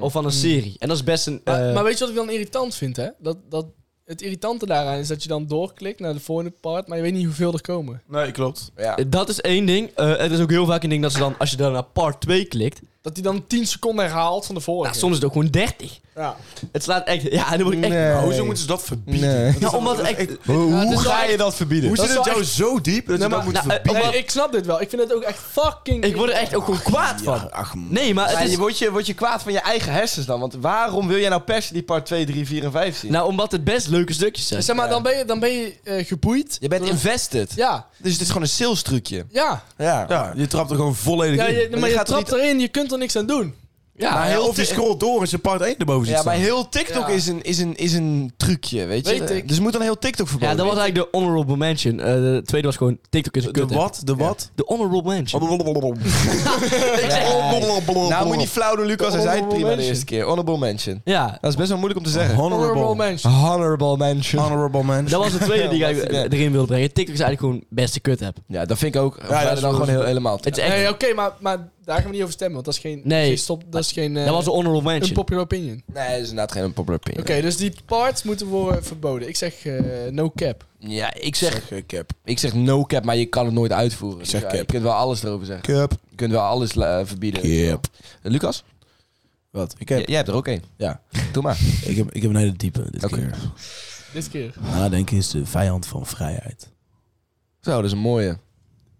Of van een serie. En dat is best een...
Maar,
eh,
maar weet je wat ik dan irritant vind, hè? Dat, dat, het irritante daaraan is dat je dan doorklikt naar de volgende part, maar je weet niet hoeveel er komen.
Nee, klopt.
Ja.
dat is één ding. Eh, het is ook heel vaak een ding dat ze dan, als je dan naar part 2 klikt,
Dat die dan 10 seconden herhaalt van de vorige.
nou, soms is het ook gewoon 30.
Ja.
Het slaat echt... Ja, dan word ik echt...
Nee.
Nou, hoezo moeten ze dat verbieden?
Nee.
Ja, omdat het echt...
Hoe,
Ja, het is
dus
wel
ga
echt-
je dat verbieden?
Hoe
Dat
zit
is
het
wel
jou zo diep dat je
maar-
dat moet
nou, eh,
verbieden?
omdat-
Nee, ik snap dit wel. Ik vind het ook echt fucking...
Ik word er echt ook gewoon kwaad van.
Ach, man.
Nee, maar
Ja,
het is...
je, word je, word je kwaad van je eigen hersens dan? Want waarom wil jij nou per se die part 2, 3, 4 en 5 zien?
Nou, omdat het best leuke stukjes zijn.
Zeg maar, dan ben je, dan ben je eh, geboeid.
je bent invested.
Ja,
Dus het is gewoon een sales trucje.
ja.
Mm. Ja.
Ja, je trapt er gewoon volledig
ja
in.
je,
Maar
maar
je
je,
gaat er
trapt erin, je kunt er niks aan doen.
ja,
Maar
heel
of je
te-
scrollt door en ze part 1 erboven zit
Ja, maar
staan.
heel TikTok
Ja.
is, een, is, een, is een trucje, weet je?
Weet ik.
Dus moet dan heel TikTok
ja,
verboden
dat was
worden.
eigenlijk de honorable mention. Eh, de tweede was gewoon TikTok is een
De
kut. app.
wat? De wat?
De honorable mention.
Nou, moet je niet flauw doen, Lucas. Hij zei het
Honorable
prima de
mention.
eerste keer. Honorable mention.
Ja,
Dat is best wel moeilijk om te zeggen.
Honorable
Ah,
Honorable.
mention.
Honorable mention.
Honorable man.
dat was de tweede die ik
Ja,
eigenlijk,
wat-
eh, erin wilde brengen. TikTok is eigenlijk gewoon beste kut app.
Ja, dat vind ik ook. Ja,
dat
dan
is wel-
gewoon heel, helemaal.
Het is echt...
Nee, oké, maar, maar daar gaan we niet over stemmen, want dat is geen...
Nee.
geen stop, dat is geen... eh,
dat was de honorable mention.
een popular opinion. Oké,
Nee, dat is inderdaad geen popular opinion.
dus die parts moeten worden verboden. Ik zeg eh, no cap.
Ja, ik zeg,
Zeg, eh, cap.
ik zeg no cap, maar je kan het nooit uitvoeren.
zeg
Dus ja,
cap.
Je kunt wel alles erover zeggen.
Cap.
Je kunt wel alles eh, verbieden.
Cap.
Eh, Lucas,
Wat? Ik
j-
heb,
jij hebt er ook één.
Ja.
Doe maar.
ik heb, ik heb een hele diepe dit
Oké.
keer.
Dit keer.
Nadenken is de vijand van vrijheid.
Zo, dat is een mooie.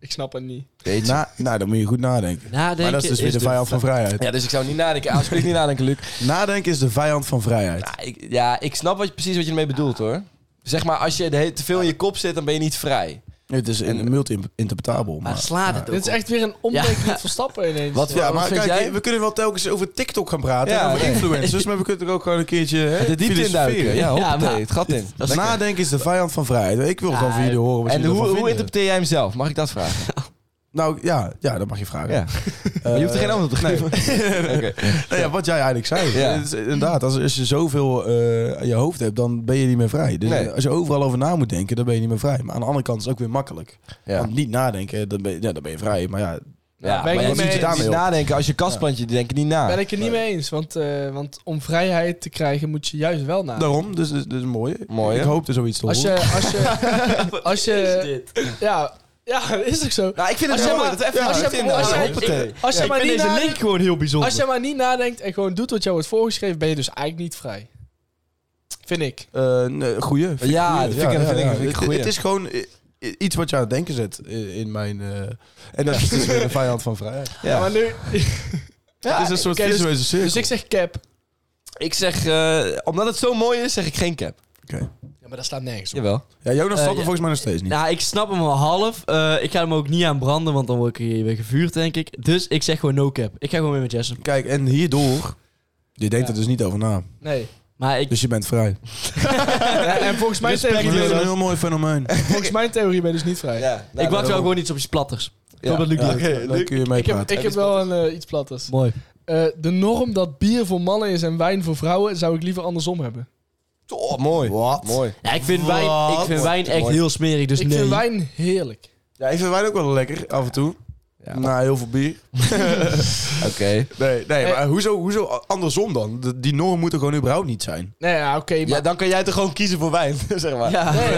Ik snap het niet.
Weet je.
Na, nou, dan moet je goed nadenken.
Nadenken
maar dat is dus weer de vijand van vrijheid.
Ja, dus ik zou niet nadenken. Alsjeblieft niet nadenken, Luc.
Nadenken is de vijand van vrijheid.
Ja, ik, ja, ik snap wat, je- precies wat je ermee bedoelt, hoor. Zeg maar, als je de hele- te veel in je kop zit, dan ben je niet vrij.
Het is in- multi-interpretabel.
Maar
Maar,
slaat het ook
Dit is
op.
echt weer een omdenking met Verstappen ineens.
Wat-
ja, maar
vind
kijk,
jij?
we kunnen wel telkens over TikTok gaan praten.
Ja,
en over
nee.
influencers, maar we kunnen er ook gewoon een keertje hè,
De diepte
filosoferen.
induiken. Ja, hoppatee,
maar-
het gat in.
Dus nadenken is de vijand van vrijheid. Ik wil gewoon van jullie horen wat
En
jullie
hoe,
ervan
hoe
vinden.
interpreteer jij hem zelf? Mag ik dat vragen?
Nou ja, ja, dat mag je vragen. Eh,
Ja. Maar je hoeft er geen antwoord op te geven. Oké.
Nou ja, wat jij eigenlijk zei.
Ja.
Het is Inderdaad, als, als je zoveel eh, aan je hoofd hebt, dan ben je niet meer vrij. Dus
Nee.
als je overal over na moet denken, dan ben je niet meer vrij. Maar aan de andere kant is het ook weer makkelijk.
Ja.
Want niet nadenken, dan ben je, ja, dan ben je vrij. Maar ja,
Ja,
ben ik
maar
niet
je
mee
moet je
eens.
daarmee
Niet
nadenken. Als je kastplantje, die denken niet
Ben
na.
ik het niet mee eens, want, eh, want om vrijheid te krijgen moet je juist wel nadenken.
daarom, dus dat is mooi.
Mooi, hè?
Ik hoop er zoiets te
Als je,
horen.
als je, als je, ja, ja, is ook zo.
Nou, ik vind
Als jij maar-
even
als jij- als jij- Als je,
Ik
maar
vind
niet
deze
nadenkt-
link gewoon heel bijzonder.
als je maar niet nadenkt en gewoon doet wat jou wordt voorgeschreven, ben je dus eigenlijk niet vrij. Vind ik.
Eh, nee, goeie. Vind ik
Ja,
goeie.
dat vind ik- dat vind ik- vind ik
Het-
goeie.
Het is gewoon i- i- iets wat je aan het denken zet i- in mijn... eh, en dat is dus weer de vijand van vrijheid.
Ja, maar nu,
het
Ah,
is een soort
oké, dus-
visuele cirkel.
dus ik zeg cap.
Ik zeg, eh, omdat het zo mooi is, zeg ik geen cap.
Ja, maar dat slaat nergens op.
Jawel.
ja, Jonas
Eh,
snapt er
ja.
volgens mij nog steeds niet.
Nou, ik snap hem wel half. Eh, ik ga hem ook niet aan branden, want dan word ik hier weer gevuurd, denk ik. Dus ik zeg gewoon no cap. Ik ga gewoon weer met Jesse.
Kijk, en hierdoor... Je denkt
Ja.
er dus niet over na.
Nee.
Maar ik...
Dus je bent vrij.
Ja, en volgens mijn,
Dat is een
theorie,
heel mooi fenomeen.
volgens mijn theorie ben je dus niet vrij.
nou,
ik wacht wel gewoon iets op je platters. Ik hoop dat Luc
Ja,
die doet.
dan kun je mee
Ik heb,
praten.
ik heb wel een, eh, iets platters.
Mooi.
Eh, de norm dat bier voor mannen is en wijn voor vrouwen, zou ik liever andersom hebben.
Oh, mooi.
Wat?
Mooi.
Ja, ik vind wijn, ik
Wat?
vind wijn echt heel smerig, dus
ik
nee.
vind wijn heerlijk.
Ja, ik vind wijn ook wel lekker, af en toe.
Ja.
Na heel veel bier.
Oké.
Nee, nee
Eh.
maar hoezo, hoezo andersom dan? De- die norm moet er gewoon überhaupt niet zijn.
Nee, ja, oké, maar...
Ja, dan kan jij toch gewoon kiezen voor wijn, zeg maar.
Ja.
Nee,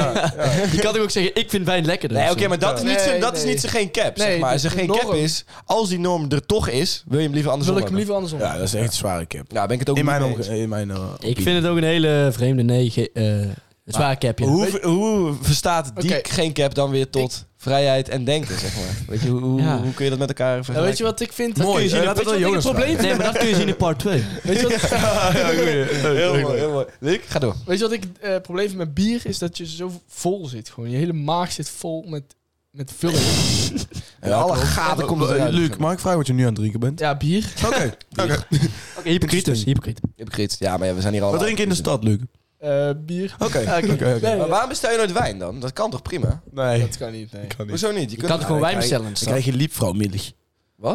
Je kan toch ook zeggen, ik vind wijn lekkerder.
Nee,
dus of
oké,
zo?
maar dat is niet, zo,
Nee,
dat is
nee.
niet zo geen cap,
Nee,
zeg maar. Als
dus
er geen
de
cap
norm.
is, als die norm er toch is, wil je hem liever andersom
Wil ik hem
hebben.
liever andersom.
Ja, dat is echt een zware cap.
Nou, ben ik het ook
In
niet
mijn,
mee
omge- in mijn eh,
Ik vind het ook een hele vreemde nee. ge- eh het zwaar capje.
eens. Hoe, ver- hoe verstaat die
Oké.
geen cap dan weer tot vrijheid en denken, zeg maar? Weet je, hoe, hoe,
Ja.
hoe kun je dat met elkaar vergelijken?
Ja, weet je wat ik vind?
Mooi.
Kun je zien-
Eh, laten we
weet je
het
wat
aan
ik het probleem
Nee, maar dat kun je zien in part 2.
Weet je wat,
Heel mooi, heel mooi. Luc, ga door.
weet je wat ik eh, probleem vind met bier? Is dat je zo vol zit. Gewoon. Je hele maag zit vol met Met vulling.
En alle
klopt.
gaten
Eh,
komt het eruit.
Luc, mag ik vragen wat je nu aan het drinken bent?
Ja, bier.
Oké. Oké.
Oké, hypocriet dus. Hypocriet.
Hypocriet. Ja, maar ja, we zijn hier al.
Wat drink je in de stad, Luc?
Eh, bier.
Oké. Oké. oké.
Nee,
Maar waarom bestel je nooit wijn dan? Dat kan toch prima?
Nee.
dat kan niet, nee.
Kan niet.
Hoezo niet?
Je kan toch gewoon wijn bestellen in de
Dan
stad?
krijg je liepvrouwmiddag.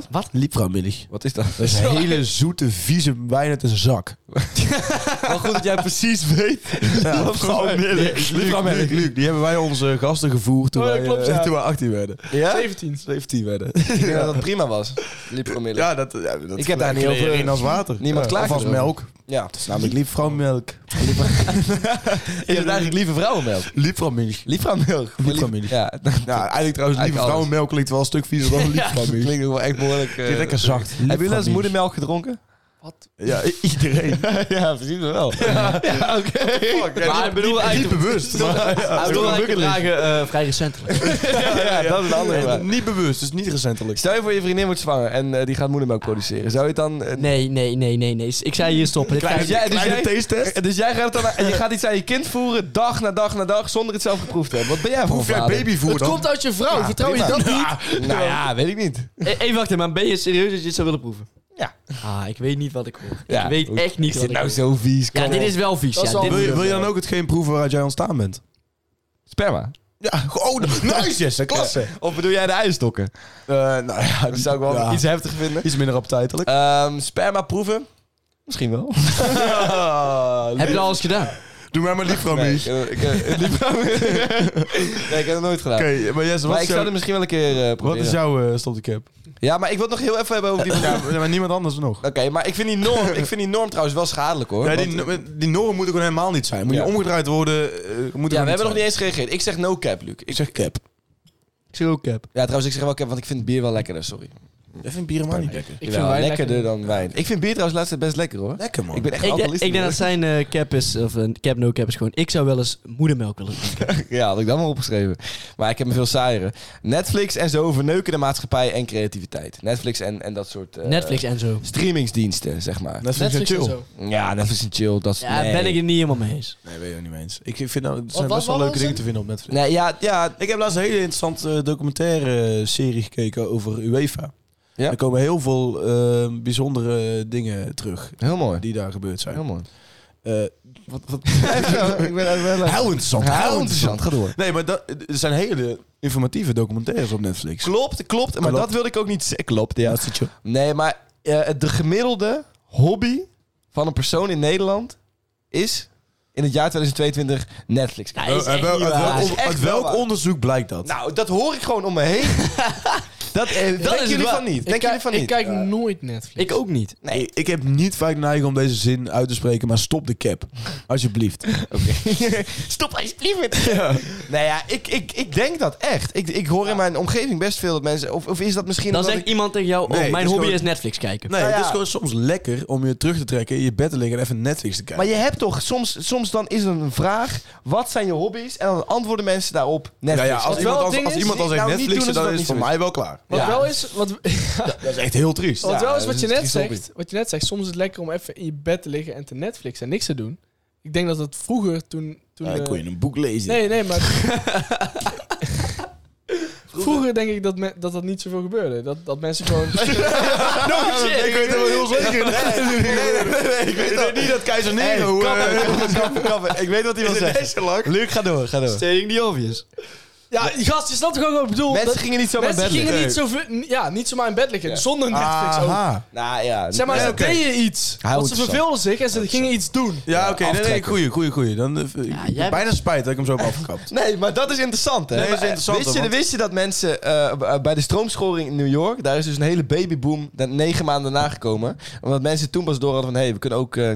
Wat?
Liepvrouwmiddag.
Wat is dat?
Dat is een hele zoete, vieze wijn uit een zak.
Maar goed dat jij precies weet.
Ja,
Liepvrouwmiddag.
Liepvrouwmiddag. Luc, die hebben wij onze gasten gevoerd toen,
Oh, dat
wij,
klopt,
eh,
ja.
toen wij 18 werden.
Ja? Ik
17.
17 werden.
denk dat dat prima was. Liepvrouwmiddag.
Ja, dat, ja, dat
Ik heb daar niet
kleren
over-
in als water.
niemand
ja,
klaagt
Of als
erover.
melk.
Ja.
Namelijk liepvrouwmelk.
Is het eigenlijk lieve vrouwenmelk?
Liepvrouwmilch.
Lieframilk.
Lieframilk.
Ja, dat
Nou, eigenlijk trouwens, lieve
alles.
vrouwenmelk klinkt wel een stuk viezer dan liepvrouwmilch.
klinkt ook wel echt behoorlijk... eh,
Die is lekker zacht.
Heb je wel eens
Liepvrouwmilch.
moedermelk gedronken?
Wat?
Ja, i- iedereen.
ja, precies wel.
Ja, oké. Maar ik bedoel
Niet
eigenlijk...
bewust. maar- ja,
Ik bedoel
ja,
eigenlijk vragen eh, vrij recentelijk.
ja, dat is een andere
ja,
vraag.
Niet bewust, dus niet recentelijk.
Stel je voor je vriendin wordt zwanger en eh, die gaat moedermelk produceren. Zou je het dan... eh,
Nee, nee, nee, nee, nee. Ik zei hier stoppen. Dit
dus, jij, dus,
Kleine
jij,
taste-test.
dus jij gaat het dan... En je gaat iets aan je kind voeren, dag na dag na dag, zonder het zelf geproefd te hebben. Wat ben jij voor
Proef jij
vader?
babyvoer
Het
dan?
komt uit je vrouw, vertrouw je dat niet?
Nou ja, weet ik niet.
E- Even wachten, maar ben je serieus dat je het zou willen proeven?
Ja.
Ah, ik weet niet wat ik hoor.
Ja.
Ik weet echt niet
Is
wat
dit
ik
nou
hoor.
zo vies?
Ja,
Kom
dit
op.
is wel vies.
Dat
Ja,
is wel
dit-
Wil je, wil je dan ook hetgeen proeven waaruit jij ontstaan bent?
Sperma.
Ja, oh, nice Jesse, klasse.
Of bedoel jij de eierstokken?
Eh, nou ja,
Dat zou ik wel
ja,
iets heftig vinden.
iets minder appetijtelijk.
Ehm, sperma proeven? Misschien wel.
Heb je dat al eens gedaan?
Doe mij maar lief van
Nee,
mij.
ik, eh, ik, eh, die vrouw- nee, ik heb het nooit gedaan.
Oké, maar Jesse, wat,
maar
is
ik zou
jouw-
het misschien wel een keer eh,
wat
proberen.
is jouw eh, stop de cap?
Ja, maar ik wil het nog heel even hebben over die...
Ja, maar niemand anders nog.
Oké, maar ik vind, die norm, ik vind die norm trouwens wel schadelijk hoor.
Ja, die,
Want-
no- die normen moeten gewoon helemaal niet zijn. Moet
Ja.
je omgedraaid worden. eh, moet er gewoon
ja, we hebben nog
zijn.
niet eens gereageerd. Ik zeg no cap, Luc. Ik-
zeg cap. Ik zeg ook cap.
Ja, trouwens, ik zeg wel cap, want ik vind bier wel lekkerder, sorry.
Ik vind bier helemaal niet lekker.
Ik
Jawel,
vind wijn
lekkerder
lekker.
dan wijn. Ik vind bier trouwens laatst best lekker hoor.
Lekker man.
Ik ben echt een
Ik, denk-
alcoholist.
ik denk dat
hoor.
zijn eh, cap is, of een cap no cap is gewoon... Ik zou wel eens moedermelk willen drinken.
Ja, had ik dat maar opgeschreven. Maar ik heb me veel saaier. Netflix en zo verneuken de maatschappij en creativiteit. Netflix en, en dat soort... eh,
Netflix en zo.
Streamingsdiensten, zeg maar.
Dat vind ik
Netflix en
chill.
zo.
Ja, Netflix en chill, dat is...
Ja,
nee.
ben ik het niet helemaal mee eens.
Nee, ben je ook niet mee eens. Ik vind nou, er zijn
wat
best wel
was
leuke
het?
dingen te vinden op Netflix.
Nee, ja, ja,
Ik heb laatst een hele interessante eh, documentaire eh, serie gekeken over UEFA.
Ja.
Er komen heel veel eh, bijzondere dingen terug
heel mooi.
die daar gebeurd zijn.
Heel mooi.
Eh,
Wat, wat? ik ben wel...
heel interessant.
Heel interessant, ga door.
Nee, maar dat, er zijn hele informatieve documentaires op Netflix.
Klopt, klopt. Maar
Klopt.
dat wilde ik ook niet zeggen. Klopt, ja.
Dat is het, joh.
Nee, maar eh, de gemiddelde hobby van een persoon in Nederland is in het jaar 2022 Netflix. Nou,
Ja, is
Eh, Uit
echt
wel-
niet
uit
waar.
welk
Is
on-
echt
uit
wel
welk
waar.
onderzoek blijkt dat?
Nou, dat hoor ik gewoon om me heen. dat eh,
is
denken
het
jullie
wel.
van niet.
Ik,
Denken jullie
kijk-
van
ik
niet.
kijk nooit Netflix.
Ik ook niet.
Nee, ik heb niet vaak neiging om deze zin uit te spreken, maar stop de cap. Alsjeblieft.
Stop alsjeblieft met Nou ja, ik, ik, ik denk dat echt. Ik, ik hoor in mijn omgeving best veel dat mensen... Of, of is dat misschien...
Dan
omdat
zegt
ik,
iemand tegen jou, oh,
Nee, het
mijn
is
hobby
gewoon-
is Netflix kijken.
Nee,
Nou ja.
het is gewoon soms lekker om je terug te trekken, in je bed te liggen en even Netflix te kijken.
maar je hebt toch... Soms, soms dan is er een vraag. Wat zijn je hobby's? En dan antwoorden mensen daarop
ja,
Netflix.
ja, als
Wat
iemand,
wel
als,
het ding
als
is,
iemand al
die-
zegt
nou, niet
Netflix,
doen alsof
dan
dat
is het
niet zo
voor mij wel klaar.
Wat
Ja,
wel
dat
is, wat,
Dat is echt heel triest.
wat wel is
dat
wat
is
je
een
net
triest hobby.
zegt, wat je net zegt, soms is het lekker om even in je bed te liggen en te Netflix en niks te doen. Ik denk dat het vroeger toen... toen
Ja,
eh,
dan kon je een boek lezen.
nee, nee, maar... vroeger denk ik dat, me- dat dat niet zoveel gebeurde. Dat, dat mensen gewoon...
Nou,
ik weet het wel heel zeker. Nee, nee, nee, Ik weet niet dat keizer Nero... eh,
Ik weet wat hij wil zeggen. Luc, ga door, ga door.
Stating the obvious.
ja, gast, je snapt toch ook wat ik bedoel?
Mensen
Dat-
gingen niet zomaar
mensen
bed
gingen
liggen.
niet, zo, veel- ja, niet zomaar in bed liggen, zonder Netflix ook.
Aha.
Nou ja.
Zeg maar,
ja,
ze
oké.
deden iets.
Hij
Want ze
houdt het
verveelden zich en ze gingen iets doen.
Ja, oké. nee, nee,
aftrekken.
goeie, goeie, goeie. Dan, eh,
jij
bijna
bent-
spijt dat ik hem zo heb afgekapt.
Nee, maar dat is interessant, hè?
Nee, dat is
Maar, eh,
interessant,
Wist je,
want-
wist je dat mensen eh, b- eh, bij de stroomschoring in New York... daar is dus een hele babyboom dat negen maanden nagekomen. Omdat mensen toen pas door hadden van... hé, hey, we kunnen ook eh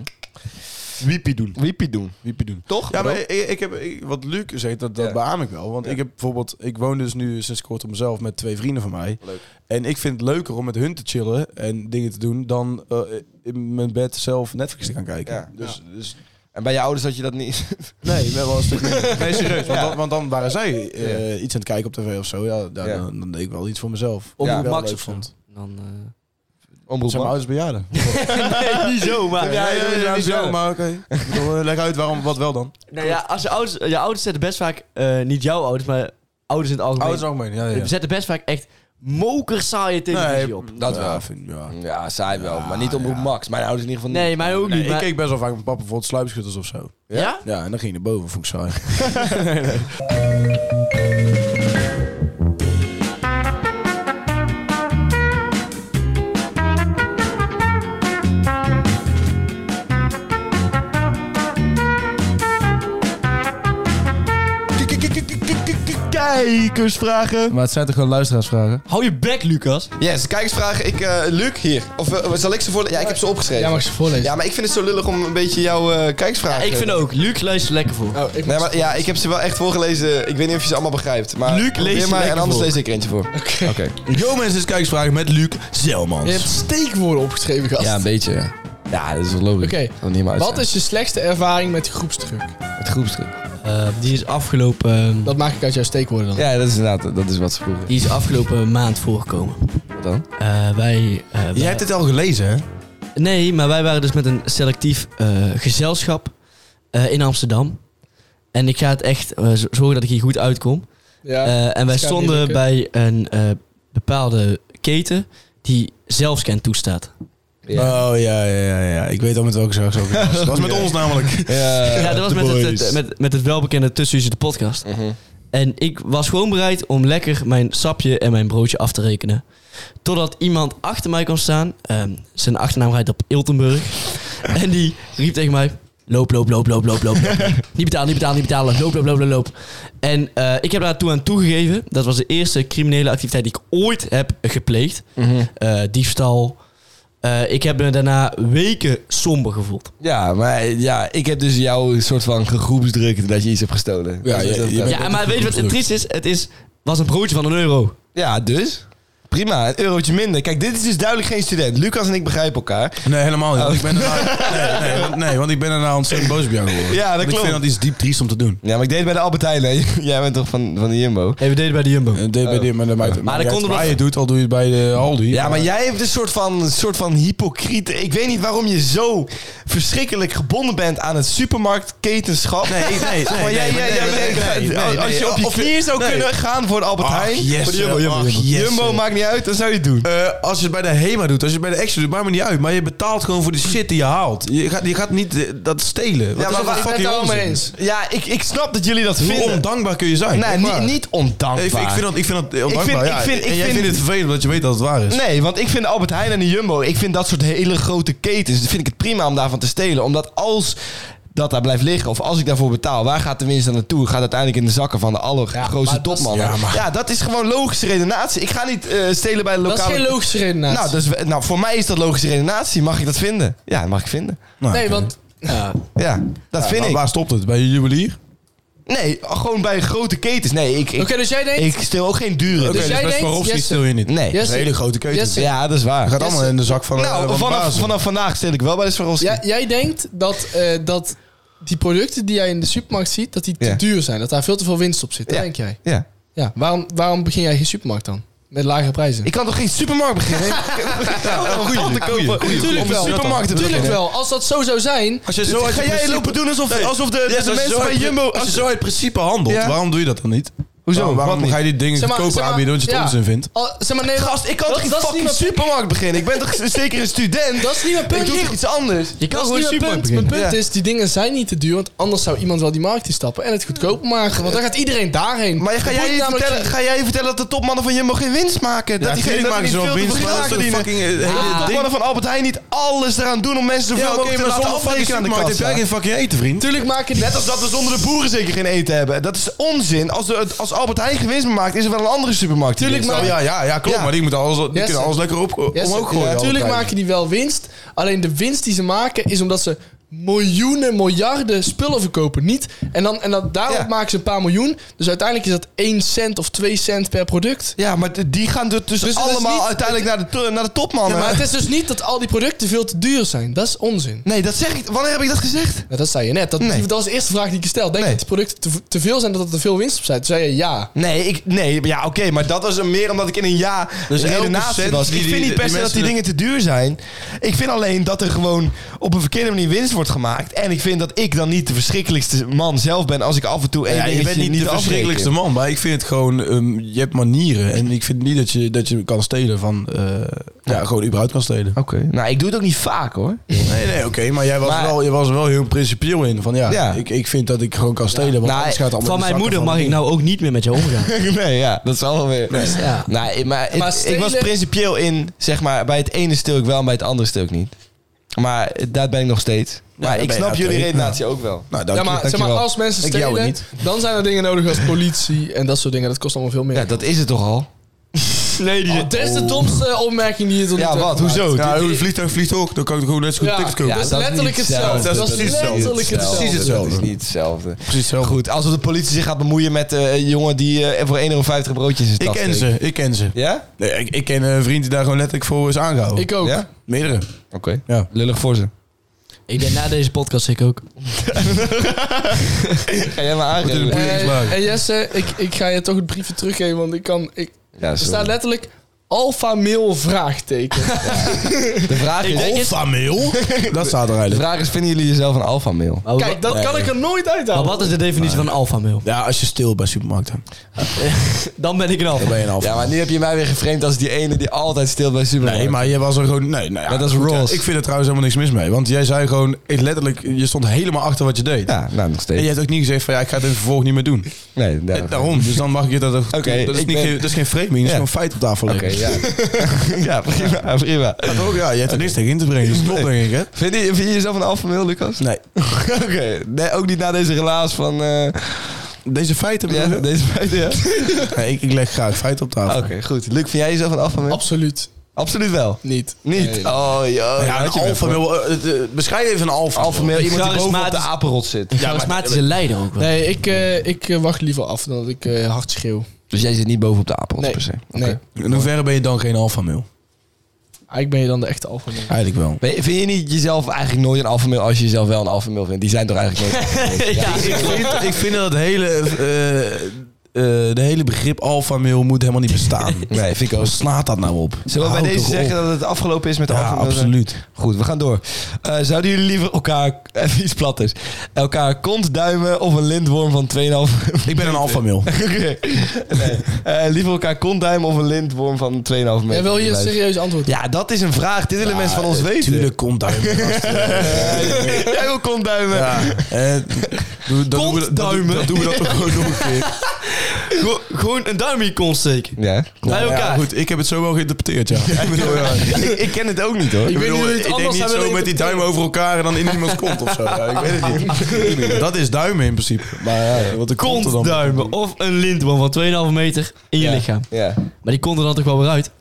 Wiepie doen.
wiepie doen.
Wiepie doen.
Toch?
Ja, maar ik, ik heb, ik- wat Luc zegt, dat, dat
Ja.
beaam ik wel. Want ik heb bijvoorbeeld, ik woon dus nu sinds kort op mezelf met twee vrienden van mij.
Leuk.
En ik vind het leuker om met hun te chillen en dingen te doen dan eh, in mijn bed zelf Netflix te gaan kijken.
Ja.
Dus, dus
En bij je ouders had je dat niet...
nee, we hebben wel een stuk minder. Nee, serieus. Want,
Ja.
dan, want dan waren zij eh, iets aan het kijken op tv of zo. Ja, dan,
Ja.
dan, dan deed ik wel iets voor mezelf.
Omroep
ja,
Max of zo. Dan, eh,
Omroep
Zijn mijn
man.
ouders bejaarden?
nee, niet zo, maar...
Ja,
ja, ja,
niet
ja.
zo, maar oké. Ik bedoel, eh, Leg uit waarom, wat wel dan?
Nou ja, als je ouders, je ouders zetten best vaak, eh, niet jouw ouders, maar ouders in het algemeen.
Ouders Oh, algemeen, ja, ja.
We zetten best vaak echt mokersaaie televisie
Nee,
op.
Dat wel.
vind ik- ja.
Ja, saai wel. Maar niet omroep Max. Mijn ouders in ieder geval niet.
Nee, mij ook
Nee,
niet.
ik
maar-
keek best wel vaak met papa bijvoorbeeld sluipschutters of zo.
Ja?
Ja, en dan ging je naar boven, vond ik saai.
Kijkersvragen.
Maar het zijn toch gewoon luisteraarsvragen?
Hou je bek, Lucas.
Yes, kijkersvragen. Ik, eh, Luc, hier. Of eh, zal ik ze voorlezen? Ja, ik heb ze opgeschreven.
Jij mag ze voorlezen.
Ja, maar ik vind het zo lullig om een beetje jouw eh kijkersvragen...
ik vind ook. Luc, luister lekker voor.
Oh,
Nee,
ik mag-
maar, ja, ik heb ze wel echt voorgelezen. Ik weet niet of je ze allemaal begrijpt. Maar
Luc,
probeer
lees ze
maar,
lekker
En anders
voor.
lees ik er eentje voor.
Oké.
Yo mensen, dit is kijkersvragen met Luc
Je
Zelmans.
hebt steekwoorden opgeschreven, gast.
Ja, een beetje. ja. Ja, dat is wel logisch.
Oké.
Dat niet
Wat is je slechtste ervaring met groepsdruk?
het groepstuk?
Eh, die is afgelopen...
Dat maak ik uit jouw steekwoorden dan.
Ja, dat is inderdaad dat is wat ze vroegen.
Die is afgelopen maand voorgekomen.
Wat dan?
Eh, wij, eh, wij-
Jij hebt dit al gelezen, hè?
Nee, maar wij waren dus met een selectief eh, gezelschap eh, in Amsterdam. En ik ga het echt eh, z- zorgen dat ik hier goed uitkom.
Ja.
Eh, en wij
dat gaat niet
stonden
lukken.
bij een eh, bepaalde keten die zelfscan toestaat.
Oh ja, ja, ja, ja. Ik weet al met welke zaak ze ook was. Dat was met ons namelijk.
ja, dat was
de
met het,
boys.
eh, met, met het welbekende Tussen de podcast.
Mhm.
En ik was gewoon bereid om lekker mijn sapje en mijn broodje af te rekenen. Totdat iemand achter mij kwam staan. Ehm, zijn achternaam rijdt op Iltenburg. en die riep tegen mij... Loop, loop, loop, loop, loop, loop. niet betalen, niet betalen, niet betalen. Loop, loop, loop, loop, loop. En eh, ik heb daar toen aan toegegeven. Dat was de eerste criminele activiteit die ik ooit heb gepleegd. Eh, diefstal. Eh, ik heb me daarna weken somber gevoeld.
Ja, maar ja, ik heb dus jouw soort van gegroepsdruk dat je iets hebt gestolen.
Ja,
Dus
je-
dat-
je bent-
Ja, maar weet je wat het triest is? Het is, was een broodje van een euro.
ja, dus? Prima, een eurotje minder. Kijk, dit is dus duidelijk geen student. Lucas en ik begrijpen elkaar.
Nee, helemaal niet. want Ik ben daarna, nee, nee, want- nee, want ik ben daarna ontzettend boos op jou geworden.
Ja, dat
Want Ik
klopt.
vind dat iets diep triest om te doen.
Ja, maar ik deed het bij de Albert Heijn. hè. Jij bent toch van, van de Jumbo?
Hey, we deden bij de Jumbo.
En dit Eh, bij dit, Oh. maar dat maakt het-
Maar dan
jij-
konden we-
waar je het doet, al doe je het bij de Aldi. Eh,
Ja, maar jij hebt een soort van, soort van hypocriet. Ik weet niet waarom je zo verschrikkelijk gebonden bent aan het supermarktketenschap. Nee, nee, nee.
nee,
jij,
nee,
jij- jij
nee,
bent-
nee, nee, nee,
Als je op je
of je-
knieën zou
nee.
kunnen gaan voor de Albert
Ach,
Heijn.
yes,
voor de Jumbo, Jumbo,
ach,
Jumbo.
yes,
Jumbo
eh.
maakt niet uit, dan zou je het doen.
Eh, als je het bij de HEMA doet, als je het bij de Action doet, maakt me niet uit. Maar je betaalt gewoon voor die shit die je haalt. Je gaat, je gaat niet eh, dat stelen. Wat
Ja,
is
maar
dat
waar-
voor
ik ben het
fucking
allemaal mee
onzin?
eens.
Ja, ik, ik snap dat jullie dat
Hoe
vinden.
ondankbaar kun je zijn?
Nee,
Echt waar.
niet, niet ondankbaar.
Ik, ik vind dat, ik vind dat ondankbaar.
vind-
ja.
ik vind- ik
en jij
vind-
vindt het vervelend dat je weet dat het waar is.
Nee, want ik vind Albert Heijn en de Jumbo, ik vind dat soort hele grote ketens, vind ik het prima om daarvan te stelen. Omdat als dat daar blijft liggen, of als ik daarvoor betaal, waar gaat de winst dan naartoe? Gaat uiteindelijk in de zakken van de allergrootste
maar dat is-
topmannen. Ja,
ja, maar-
dat is gewoon logische redenatie. Ik ga niet eh, stelen bij de
Dat
lokale...
is geen logische redenatie.
Nou, dus, we- nou, voor mij is dat logische redenatie. Mag ik dat vinden? Ja, dat mag ik vinden.
Nou,
nee,
oké.
want
Ja, dat vind
Maar
ik.
Waar stopt het? Bij je juwelier?
Nee, gewoon bij grote ketens. Nee, ik, ik,
Oké, dus jij denkt...
ik steel ook geen dure.
Oké,
Dus
dus
jij
best
denkt,
Swarovski
Jesse-
stil je niet.
Nee.
Dat is een hele
Jesse-
grote keuze.
Jesse-
Ja, dat is waar.
Gaat allemaal
Jesse-
in de zak van eh, van
Nou,
de
vanaf,
baas.
vanaf vandaag stel ik wel bij de Swarovski.
Ja, jij denkt dat, eh, dat die producten die jij in de supermarkt ziet, dat die te
Ja.
duur zijn. Dat daar veel te veel winst op zit. Dat
Ja.
denk jij.
ja.
Ja. Waarom, waarom begin jij geen supermarkt dan? Met lagere prijzen.
Ik kan toch geen supermarkt beginnen? Goeie, goeie, goeie.
Tuurlijk
Om een
wel.
supermarkt te
Tuurlijk
beginnen.
wel. Als dat zo zou zijn...
Als je
Dus ga jij lopen doen alsof, alsof de, de mensen bij Jumbo...
Dus Als je zo uit principe handelt,
Ja.
waarom doe je dat dan niet? Waarom, waarom
niet?
ga je die dingen
Zeg maar-
goedkoper
zeg maar-
aanbieden omdat je het
ja.
onzin vindt?
Al, zeg maar, nee,
Gast, ik kan
dat-
toch geen
dat is
fucking
niet
supermarkt beginnen? Ik ben toch zeker een student?
Dat is niet mijn
Ik
punt.
doe toch iets anders?
Je kan
Dat is
gewoon
niet
een
mijn
supermarkt
punt. Mijn
beginnen.
punt
Ja.
is, die dingen zijn niet te duur, want anders zou iemand wel die markt instappen en het goedkoper maken. Want dan gaat iedereen daarheen.
Maar ga
Het
jij,
wordt
je
namelijk
vertellen,
geen-
ga jij je vertellen dat de topmannen van Jumbo geen winst maken? Dat
Ja,
die
natuurlijk
geen
maken ze wel winst, maar dat is toch fucking, eh, hele
de
ding.
topmannen van Albert Heijn niet alles eraan doen om mensen zoveel
Ja, oké,
mogelijk te
maar
laten
zonder fucking
afrekenen aan de
supermarkt heb
kassa.
jij geen fucking eten, vriend.
Tuurlijk maken die-
Net als dat we zonder de boeren zeker geen eten hebben. Dat is onzin. Als, de, als Albert Heijn geen winst meer maakt, is er wel een andere supermarkt. die
Tuurlijk,
winst
maar-
maakt.
Ja, ja, ja, klopt.
Ja.
Maar die, moeten alles, die
Yes.
kunnen alles lekker op,
Yes,
omhoog gooien.
Natuurlijk
altijd.
maken die wel winst. Alleen de winst die ze maken is omdat ze miljoenen, miljarden spullen verkopen. Niet. En, dan, en dan, daarop
Ja.
maken ze een paar miljoen. Dus uiteindelijk is dat 1 cent of 2 cent per product.
Ja, maar d- die gaan dus, dus
Dus het is
allemaal
niet-
uiteindelijk naar de, to- naar de topman.
Maar het is dus niet dat al die producten veel te duur zijn. Dat is onzin.
Nee, dat zeg ik. Wanneer heb ik dat gezegd?
Nou, dat zei je net. Dat,
Nee.
dat was de eerste vraag die ik gesteld. Denk
Nee.
je dat die producten te, te veel zijn dat er te veel winst op zijn? Toen zei je ja.
Nee, ik, nee ja, oké, maar dat was een meer omdat ik in een ja dus
Dus elke
redenatie
cent
was.
die-
ik vind
die-
niet per
die
se dat die
mensen-
dingen te duur zijn. Ik vind alleen dat er gewoon op een verkeerde manier winst wordt gemaakt. En ik vind dat ik dan niet de verschrikkelijkste man zelf ben als ik af en toe één
Ja, je
dingetje
bent niet, de
afreken.
verschrikkelijkste man, maar ik vind het gewoon, ehm, je hebt manieren. En ik vind niet dat je, dat je kan stelen van, eh, ja, gewoon überhaupt kan stelen.
Oké. Nou, ik doe het ook niet vaak hoor.
Nee, nee, oké, maar jij was,
Maar-
wel, je was er wel heel principieel in. Van ja,
Ja.
Ik, ik vind dat ik gewoon kan stelen, want
Nou,
anders gaat het allemaal
Van
in de
mijn
zakken
moeder
van
mag
de
ik nou ook niet meer met je omgaan.
nee, ja, dat zal wel weer.
Ja.
Nee, maar,
Maar
ik- ik
stelen-
was principieel in, zeg maar, bij het ene stuk wel en bij het andere stuk niet. Maar eh, daar ben ik nog steeds. Maar
daar
ik
ben je,
snap
oké.
jullie redenatie ook wel.
Nou, dank
ja,
je.
maar, zeg maar
dankjewel.
als mensen
Ik jou
stelen, dan zijn er dingen nodig als politie en dat soort dingen. Dat kost allemaal veel meer.
Ja, dat is het toch al?
nee, die dat is de domste opmerking die je tot nu toe
Ja,
hebt
wat?
gemaakt.
Hoezo?
Ja, hoe een vliegtuig vliegt ook, dan kan ik gewoon net zo goed
Ja,
tickets kopen.
Ja,
dat is
dat is
letterlijk
niet
hetzelfde.
hetzelfde.
Dat is letterlijk
hetzelfde.
hetzelfde.
Dat
hetzelfde.
is niet hetzelfde.
Precies hetzelfde.
Goed, alsof de politie zich gaat bemoeien met eh, een jongen die eh, voor 1,50 euro broodjes in zijn
Ik
tas
ken
steekt.
ze, ik ken ze.
Ja?
Nee, ik, ik ken een vriend die daar gewoon letterlijk voor is aangehouden.
Ik ook.
Ja?
Meerdere.
Oké.
Ja.
Lullig voor ze.
Ik denk na deze podcast ik ook.
Ga jij maar
Moeten we
aangeven?
de
Eh,
Boeienslagen.
en Jesse, ik, ik ga je toch het briefje teruggeven, want ik kan... Ik,
Ja,
er staat
sorry.
letterlijk alpha mail vraagteken.
De vraag, is,
Alpha mail? Dat staat er
de
eigenlijk.
vraag is, vinden jullie jezelf een alfa-mail?
Maar,
Kijk, dat kan ik er nooit
maar
uithalen.
wat is de definitie van alfa mail?
Ja, als je stil bij supermarkten.
Dan ben ik een
Dan
alfa.
ben je een alpha.
Ja, maar nu heb je mij weer geframed als die ene die altijd stil bij de supermarkt.
Nee, maar je was er gewoon... Nee, nou ja,
Maar dat is
goed,
Ross.
ja, Ik vind er trouwens helemaal niks mis mee. Want jij zei gewoon... Ik letterlijk, je stond helemaal achter wat je deed.
Ja, nou, nog
En
steeds.
je hebt ook niet gezegd van... Ja, ik ga het in het vervolg niet meer doen.
Nee,
Eh, Daarom. Dus dan mag je dat... ook-
Oké,
dat, is
ik
niet,
ben-
geen- dat is geen framing. Dat is
Ja.
gewoon feit op tafel
Oké,
leggen.
ja. ja, prima, prima.
Maar toch, ja, je hebt er niks tegen in te brengen. Dus klopt, denk ik, hè?
Vind je, vind je jezelf een alfameel, Lucas?
Nee.
Oké, nee, ook niet na deze relaas van... eh,
Deze feiten...
ja,
bedoel je?
deze feiten, ja. Oké,
Nee, ik, ik leg graag feiten op tafel.
goed. Luc, vind jij jezelf een alfameel?
Absoluut
Absoluut wel.
niet.
Niet? Oh, joh.
ja, een alpha wil... eh, eh, eh, beschrijf even een alpha.
Alfameel, iemand die bovenop de
Charismatisch.
apenrot zit.
Charismatische leider ook wel.
Nee, ik, eh, ik eh, wacht liever af dan dat ik eh, hard schreeuw.
Dus jij zit niet bovenop de apenrot
Nee.
per se? Oké.
Nee,
In hoeverre ben je dan geen alpha mail?
eigenlijk ben je dan de echte alpha mail.
Eigenlijk wel.
Ben je- Vind je niet jezelf eigenlijk nooit een alfameel als je jezelf wel een alfameel vindt? Die zijn toch eigenlijk nooit...
Ja,
Ik vind, ik vind dat het hele, eh, eh, de hele begrip alpha mail moet helemaal niet bestaan.
Nee, vind ik ook.
Waar slaat dat nou op?
Zullen we bij
Houd
deze
toch
zeggen
op.
dat het afgelopen is met de
Ja,
alfameel?
absoluut.
Goed, we gaan door. Eh, zouden jullie liever elkaar, even iets platters, elkaar kont duimen of een lintworm van 2,5...
Ik ben een alpha mail.
Oké. nee. Eh, liever elkaar kont duimen of een lintworm van 2,5 meter?
Jij wil hier een serieus antwoord op?
Ja, dat is een vraag. Dit willen mensen van ons weten.
Eh, Tuurlijk komt daar.
Jij wil kont duimen.
Ja. eh, doe- dan doen we dat- dan doen-
Kontduimen.
Dan doen we dat ook gewoon nog een keer.
Gewoon een duim in je kont steken.
Ja, klopt.
Bij
Ja,
elkaar.
goed, ik heb het zo wel geïnterpreteerd, ja. Ik bedoel, ja.
ik, ik ken het ook niet hoor.
Ik,
weet
bedoel,
niet hoe je het
ik denk
anders
niet
zou
zo
willen
met die duim over elkaar en dan in iemands kont of zo. Ja, ik weet het niet. Dat is duimen in principe. Maar ja, wat de kont er dan-
Kontduimen of een lintworm van 2,5 meter in je lichaam.
Ja.
Maar die kon er dan toch wel weer uit.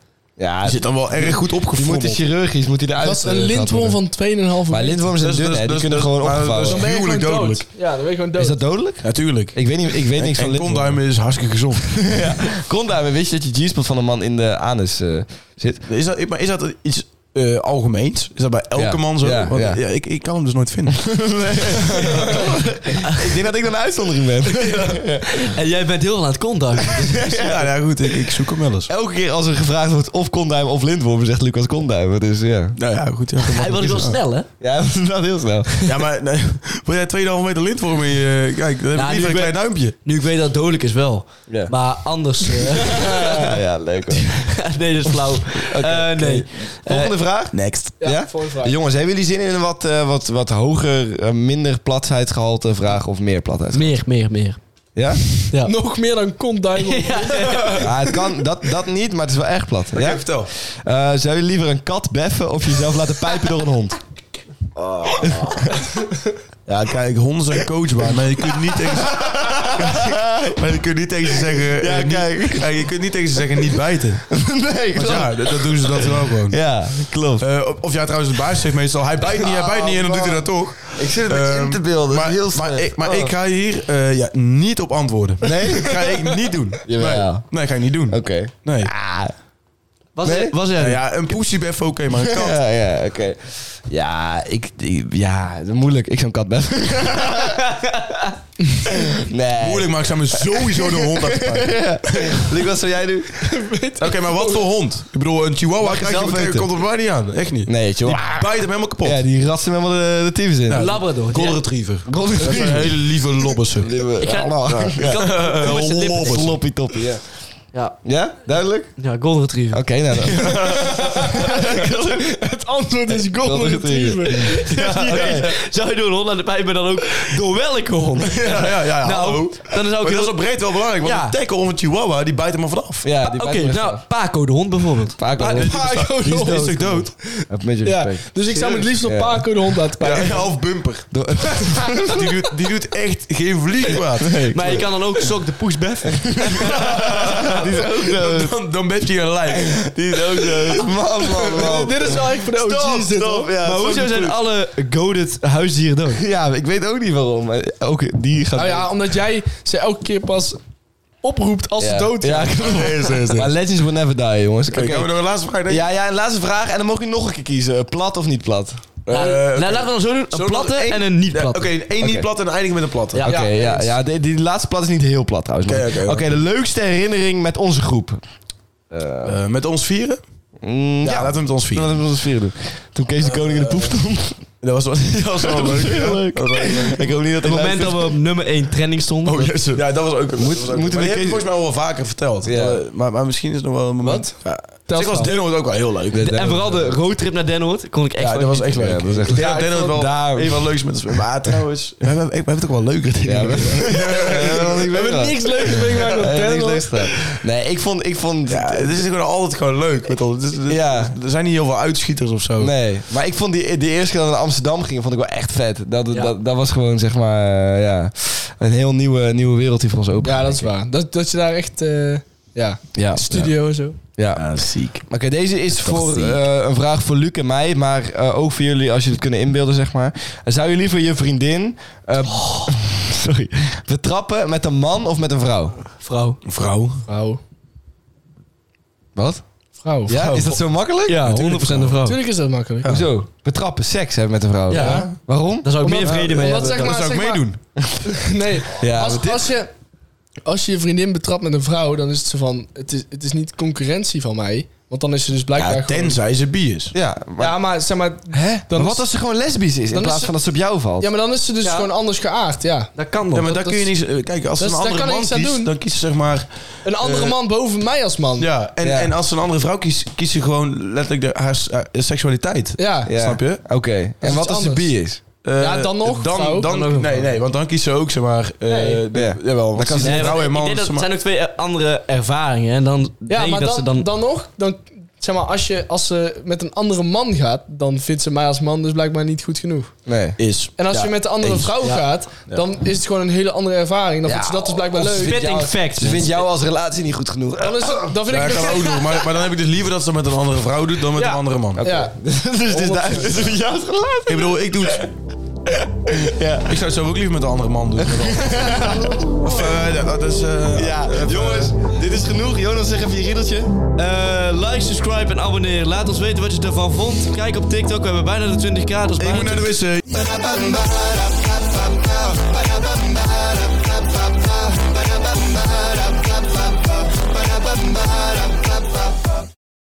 Ja,
Die zit dan wel erg goed
die
opgevoerd.
moet de chirurgisch moet hij eruit.
Dat is een
eh,
lintworm
gehad worden.
van 2,5 meter.
Maar lintworms zijn
Dus-
dun,
dus-
hè? Die
dus-
kunnen
dus-
gewoon
maar-
opgevouwen.
dus-
Dan ben je gewoon
Gruwelijk
dood.
dodelijk.
Ja, dan ben je gewoon dood.
Is dat dodelijk?
Natuurlijk.
Ik weet, niet, ik weet niks van
en
lintworm.
kontduimen is hartstikke gezond.
Kontduimen, wist je dat je G-spot van een man in de anus eh, zit?
Is dat, maar is dat iets eh, algemeens? Is dat bij elke
Ja,
man zo?
ja,
Want,
ja.
ja. ik, ik kan hem dus nooit vinden.
ik denk dat ik dan een uitzondering ben.
En jij bent heel lang aan het kontduimen.
ja, nou goed, ik, ik zoek hem wel eens.
Elke keer als er gevraagd wordt of kontduim of lintworm, zegt Lucas kontduim. Dus ja.
Nou ja, goed. Ja,
Hij was wel snel, hè?
Ja, dat heel snel.
Ja, maar nee, wil jij 2,5 meter lint voor me? eh, kijk, dan heb ik
Nou,
liever
nu
een
ben-
klein duimpje.
Nu ik weet dat het dodelijk is wel.
Ja.
Maar anders... eh,
ja, ja, leuk hoor.
nee, dat is flauw. Eh, nee. Eh,
Volgende vraag.
Next.
Ja,
Ja?
volgende vraag.
Jongens, hebben jullie zin in een wat, eh, wat, wat hoger, eh, minder platheidsgehalte vraag of meer
Eh,
platheidsgehalte?
meer, meer, meer.
Ja?
Nog meer dan kontduimen.
Ah, het kan, dat, dat niet, maar het is wel erg plat. Ja?
vertel.
Eh, zou je liever een kat beffen of jezelf laten pijpen door een hond?
Ja, kijk, honden zijn coachbaar, maar je kunt niet tegen ze... maar je kunt niet tegen ze zeggen... eh,
Ja,
niet-
kijk.
kijk, je kunt niet tegen ze zeggen niet bijten.
nee,
Want ja, dat, dat doen ze dat wel gewoon.
Ja, klopt.
Eh, of- of ja, trouwens, de baas zegt meestal... Hij bijt niet, hij bijt niet en dan doet hij dat toch.
Ik zit het
Ehm,
in te beelden.
Maar,
heel Oh.
maar, ik, maar ik ga hier eh, ja, niet op antwoorden. Nee? Dat ga ik niet doen.
Jawel.
Nee, nee ga ik niet doen.
Oké.
Nee.
Ah,
Was,
Nee?
was er?
Nou ja, een pussybeff oké, maar een kat.
Ah. Ja, ja, oké. Ja, ik, ik- ja, moeilijk. Ik zou een kat best. nee.
Moeilijk, maar ik zou me sowieso de hond achterpakken.
Luc, wat zou jij doen?
Oké, maar wat voor hond? Ik bedoel, een chihuahua
Mag je
krijg je
zelf
meteen-
weten.
komt er mij niet aan. Echt niet.
Nee, joh.
Die bijt hem helemaal kapot.
Ja, die rassen helemaal de, de tyfus in.
Ja.
Labrador.
Golden
Ja.
retriever. Dat zijn hele lieve lobbersen.
Ik
ga-
Eh, lobbers.
Sloppy toppie, ja.
Ja.
Ja, duidelijk?
ja, golden retriever.
Oké, nou dan.
Het antwoord is
Dat
golden
is het
retriever.
Ja, oké. Zou je door een hond aan de pijp, maar dan ook door welke hond?
Ja, ja, ja. hallo.
Nou, dan zou
Maar
ik...
dat is
heel-
op breed wel belangrijk, want
Ja.
een tackle of een chihuahua, die bijt hem maar vanaf.
Ja, die
Oké,
bijt me echt
nou,
af.
Paco de hond bijvoorbeeld.
Paco,
Ah,
hoor.
die Paco, die hond is stuk dood.
Even met je
Ja,
respect.
dus ik zou me het liefst op
Ja.
Paco de hond laten pakken.
Ja, of bumper. die, doet, die doet echt geen vlieg kwaad.
Maar je kan dan ook Sok de Poes beffen.
die is ook Dan, dan ben je een lijk. Die is ook
Man, man, man.
Dit is wel echt voor de OG's
Stop,
dit, hoor.
stop. Ja,
maar hoezo
sorry.
zijn alle goaded huisdieren dood?
Ja, ik weet ook niet waarom. maar Ook die gaat...
Oh
Nou ja, omdat jij ze elke keer pas oproept als
Ja.
ze dood
Ja,
zijn.
Maar legends will never die, jongens. Oké.
Gaan we nog een laatste vraag denken?
Ja, ja, en laatste vraag. En dan mogen jullie nog een keer kiezen. Plat of niet plat?
Nou, nou,
Eh, oké.
laten we dan zo doen. Een
Zo
platte
nog één-
en een niet
Ja,
platte.
Oké, één niet
Oké.
plat en dan eindigen met een platte.
Ja.
Oké, ja,
eens.
ja die, die laatste plat is niet heel plat trouwens.
Oké,
maar-
oké, oké.
de leukste herinnering met onze groep.
Eh, met ons vieren?
Mm,
Ja,
ja,
laten we met ons vieren.
laten we ons vieren doen. Toen Kees de Koning in de poef stond.
Dat was wel, Eh, dat was wel leuk. ja. Dat was wel leuk.
ik hoop niet dat hij
Op het moment
luistert.
dat we op nummer 1 trending stonden.
Oh, jezus. Ja, dat was ook een
Moet-
dat was ook-
moeten
maar
we
die heb
Kees-
ik volgens mij al wel vaker verteld.
Ja.
Eh, maar, maar misschien is het nog wel een moment. Ja.
Tel
Ik was
verhaal.
Denno ook wel heel leuk.
De- en vooral de roadtrip naar Den Hoort kon ik echt
Ja,
wel
dat was echt
genieten.
leuk.
Ja, dat was echt
Ik denk
leuk.
dat Denno het wel
Daar-
een van de leuks met ons. Maar trouwens, we hebben, we hebben het ook wel leuker dingen.
Ja, we, we hebben
Niks leuks ben ik nou nog
Eh, niks
tellen.
leuks gedaan. Nee, ik vond... Ik vond
Ja, het is gewoon altijd gewoon leuk. Met ons. Het is- het-
Ja.
Er zijn niet heel veel uitschieters of zo.
Nee, maar ik vond die, die eerste keer dat we naar Amsterdam gingen, vond ik wel echt vet. Dat,
Ja.
dat, dat was gewoon, zeg maar, eh, ja, een heel nieuwe, nieuwe wereld die voor ons open
Ja, dat is waar. Dat, dat je daar echt... eh, ja,
Ja,
studio en zo.
Ja.
Ja, ziek.
Oké, deze is voor
ziek.
eh, een vraag voor Luc en mij, maar eh, ook voor jullie als jullie het kunnen inbeelden, zeg maar. Eh, Zou je liever je vriendin eh, sorry, betrappen met een man of met een vrouw?
Vrouw.
Vrouw.
Vrouw.
Wat?
Vrouw.
Ja, is dat zo makkelijk?
Ja, 100% een vrouw.
Natuurlijk is dat makkelijk.
Hoezo? Betrappen, seks hebben met een vrouw.
Ja.
Waarom?
Daar zou ik meer
Omdat-
vrede mee
omdat
hebben.
zeg
dan-
maar-
Dat zou ik meedoen.
Nee,
Ja,
als, als, je, als je je vriendin betrapt met een vrouw, dan is het zo van... Het is, het is niet concurrentie van mij. Want dan is ze dus blijkbaar
Ja,
gewoon-
tenzij ze bi is.
Ja, maar,
Ja, maar zeg maar...
hè?
dan
Maar wat
is-
als ze gewoon lesbisch is in
dan is
plaats
ze-
van dat ze op jou valt?
Ja, maar dan is ze dus
Ja.
gewoon anders geaard, ja.
Dat
Ja,
kan nog.
maar daar
dat-
kun je niet... eh, Kijk, als
dat
ze een
is- daar
andere
kan ik
man
niks aan
kiest,
doen.
dan kiest ze zeg maar...
Een andere
Eh,
man boven mij als man. Ja.
Ja, en,
Ja.
en als ze een andere vrouw kiest, kiest ze gewoon letterlijk de, haar, s- haar seksualiteit.
Ja.
Snap je?
Oké, en
is
wat
iets
als ze
anders.
bi is?
Eh,
Ja, dan nog vrouw.
Dan,
Dan
dan,
nog een
nee, nee, want dan kiest ze ook, zeg maar... eh
Nee.
de-
Ja.
Jawel, want
kan
ze
ze-
is
Nee,
vrouw
want
en man.
ik denk
zeg
dat
maar-
zijn ook twee eh, andere ervaringen. En dan
Ja,
denk ik
maar
dat
dan,
ze
dan...
dan...
nog, dan, zeg maar, als, je, als ze met een andere man gaat, dan vindt ze mij als man dus blijkbaar niet goed genoeg.
Nee.
Is.
En als
Ja,
je met een andere
eens.
vrouw
Ja.
gaat, dan is het gewoon een hele andere ervaring.
Ja,
Dan vindt ze dat dus
oh,
blijkbaar
of
leuk.
ze vindt
Spitting
Ja,
facts.
Ze vindt jou als relatie niet goed genoeg.
dan, is het- dan vind
Ja,
ik
dat
het
gaan we ook
ook
doen. Maar, maar dan heb ik dus liever dat ze met een andere vrouw doet dan met
Ja.
een andere man.
Ja,
dus het is duidelijk. Het is met jou als relatie.
Ik bedoel, ik doe het. Ja. Ik zou het zo ook liever met een andere man doen. of, eh, ja, dat is... eh,
Ja, jongens, dit is genoeg. Jonas, zeg even je riedeltje.
Eh, like, subscribe en abonneer. Laat ons weten wat je ervan vond. Kijk op TikTok. We hebben bijna de 20k. Dat is
Ik
bijna
moet naar de wc.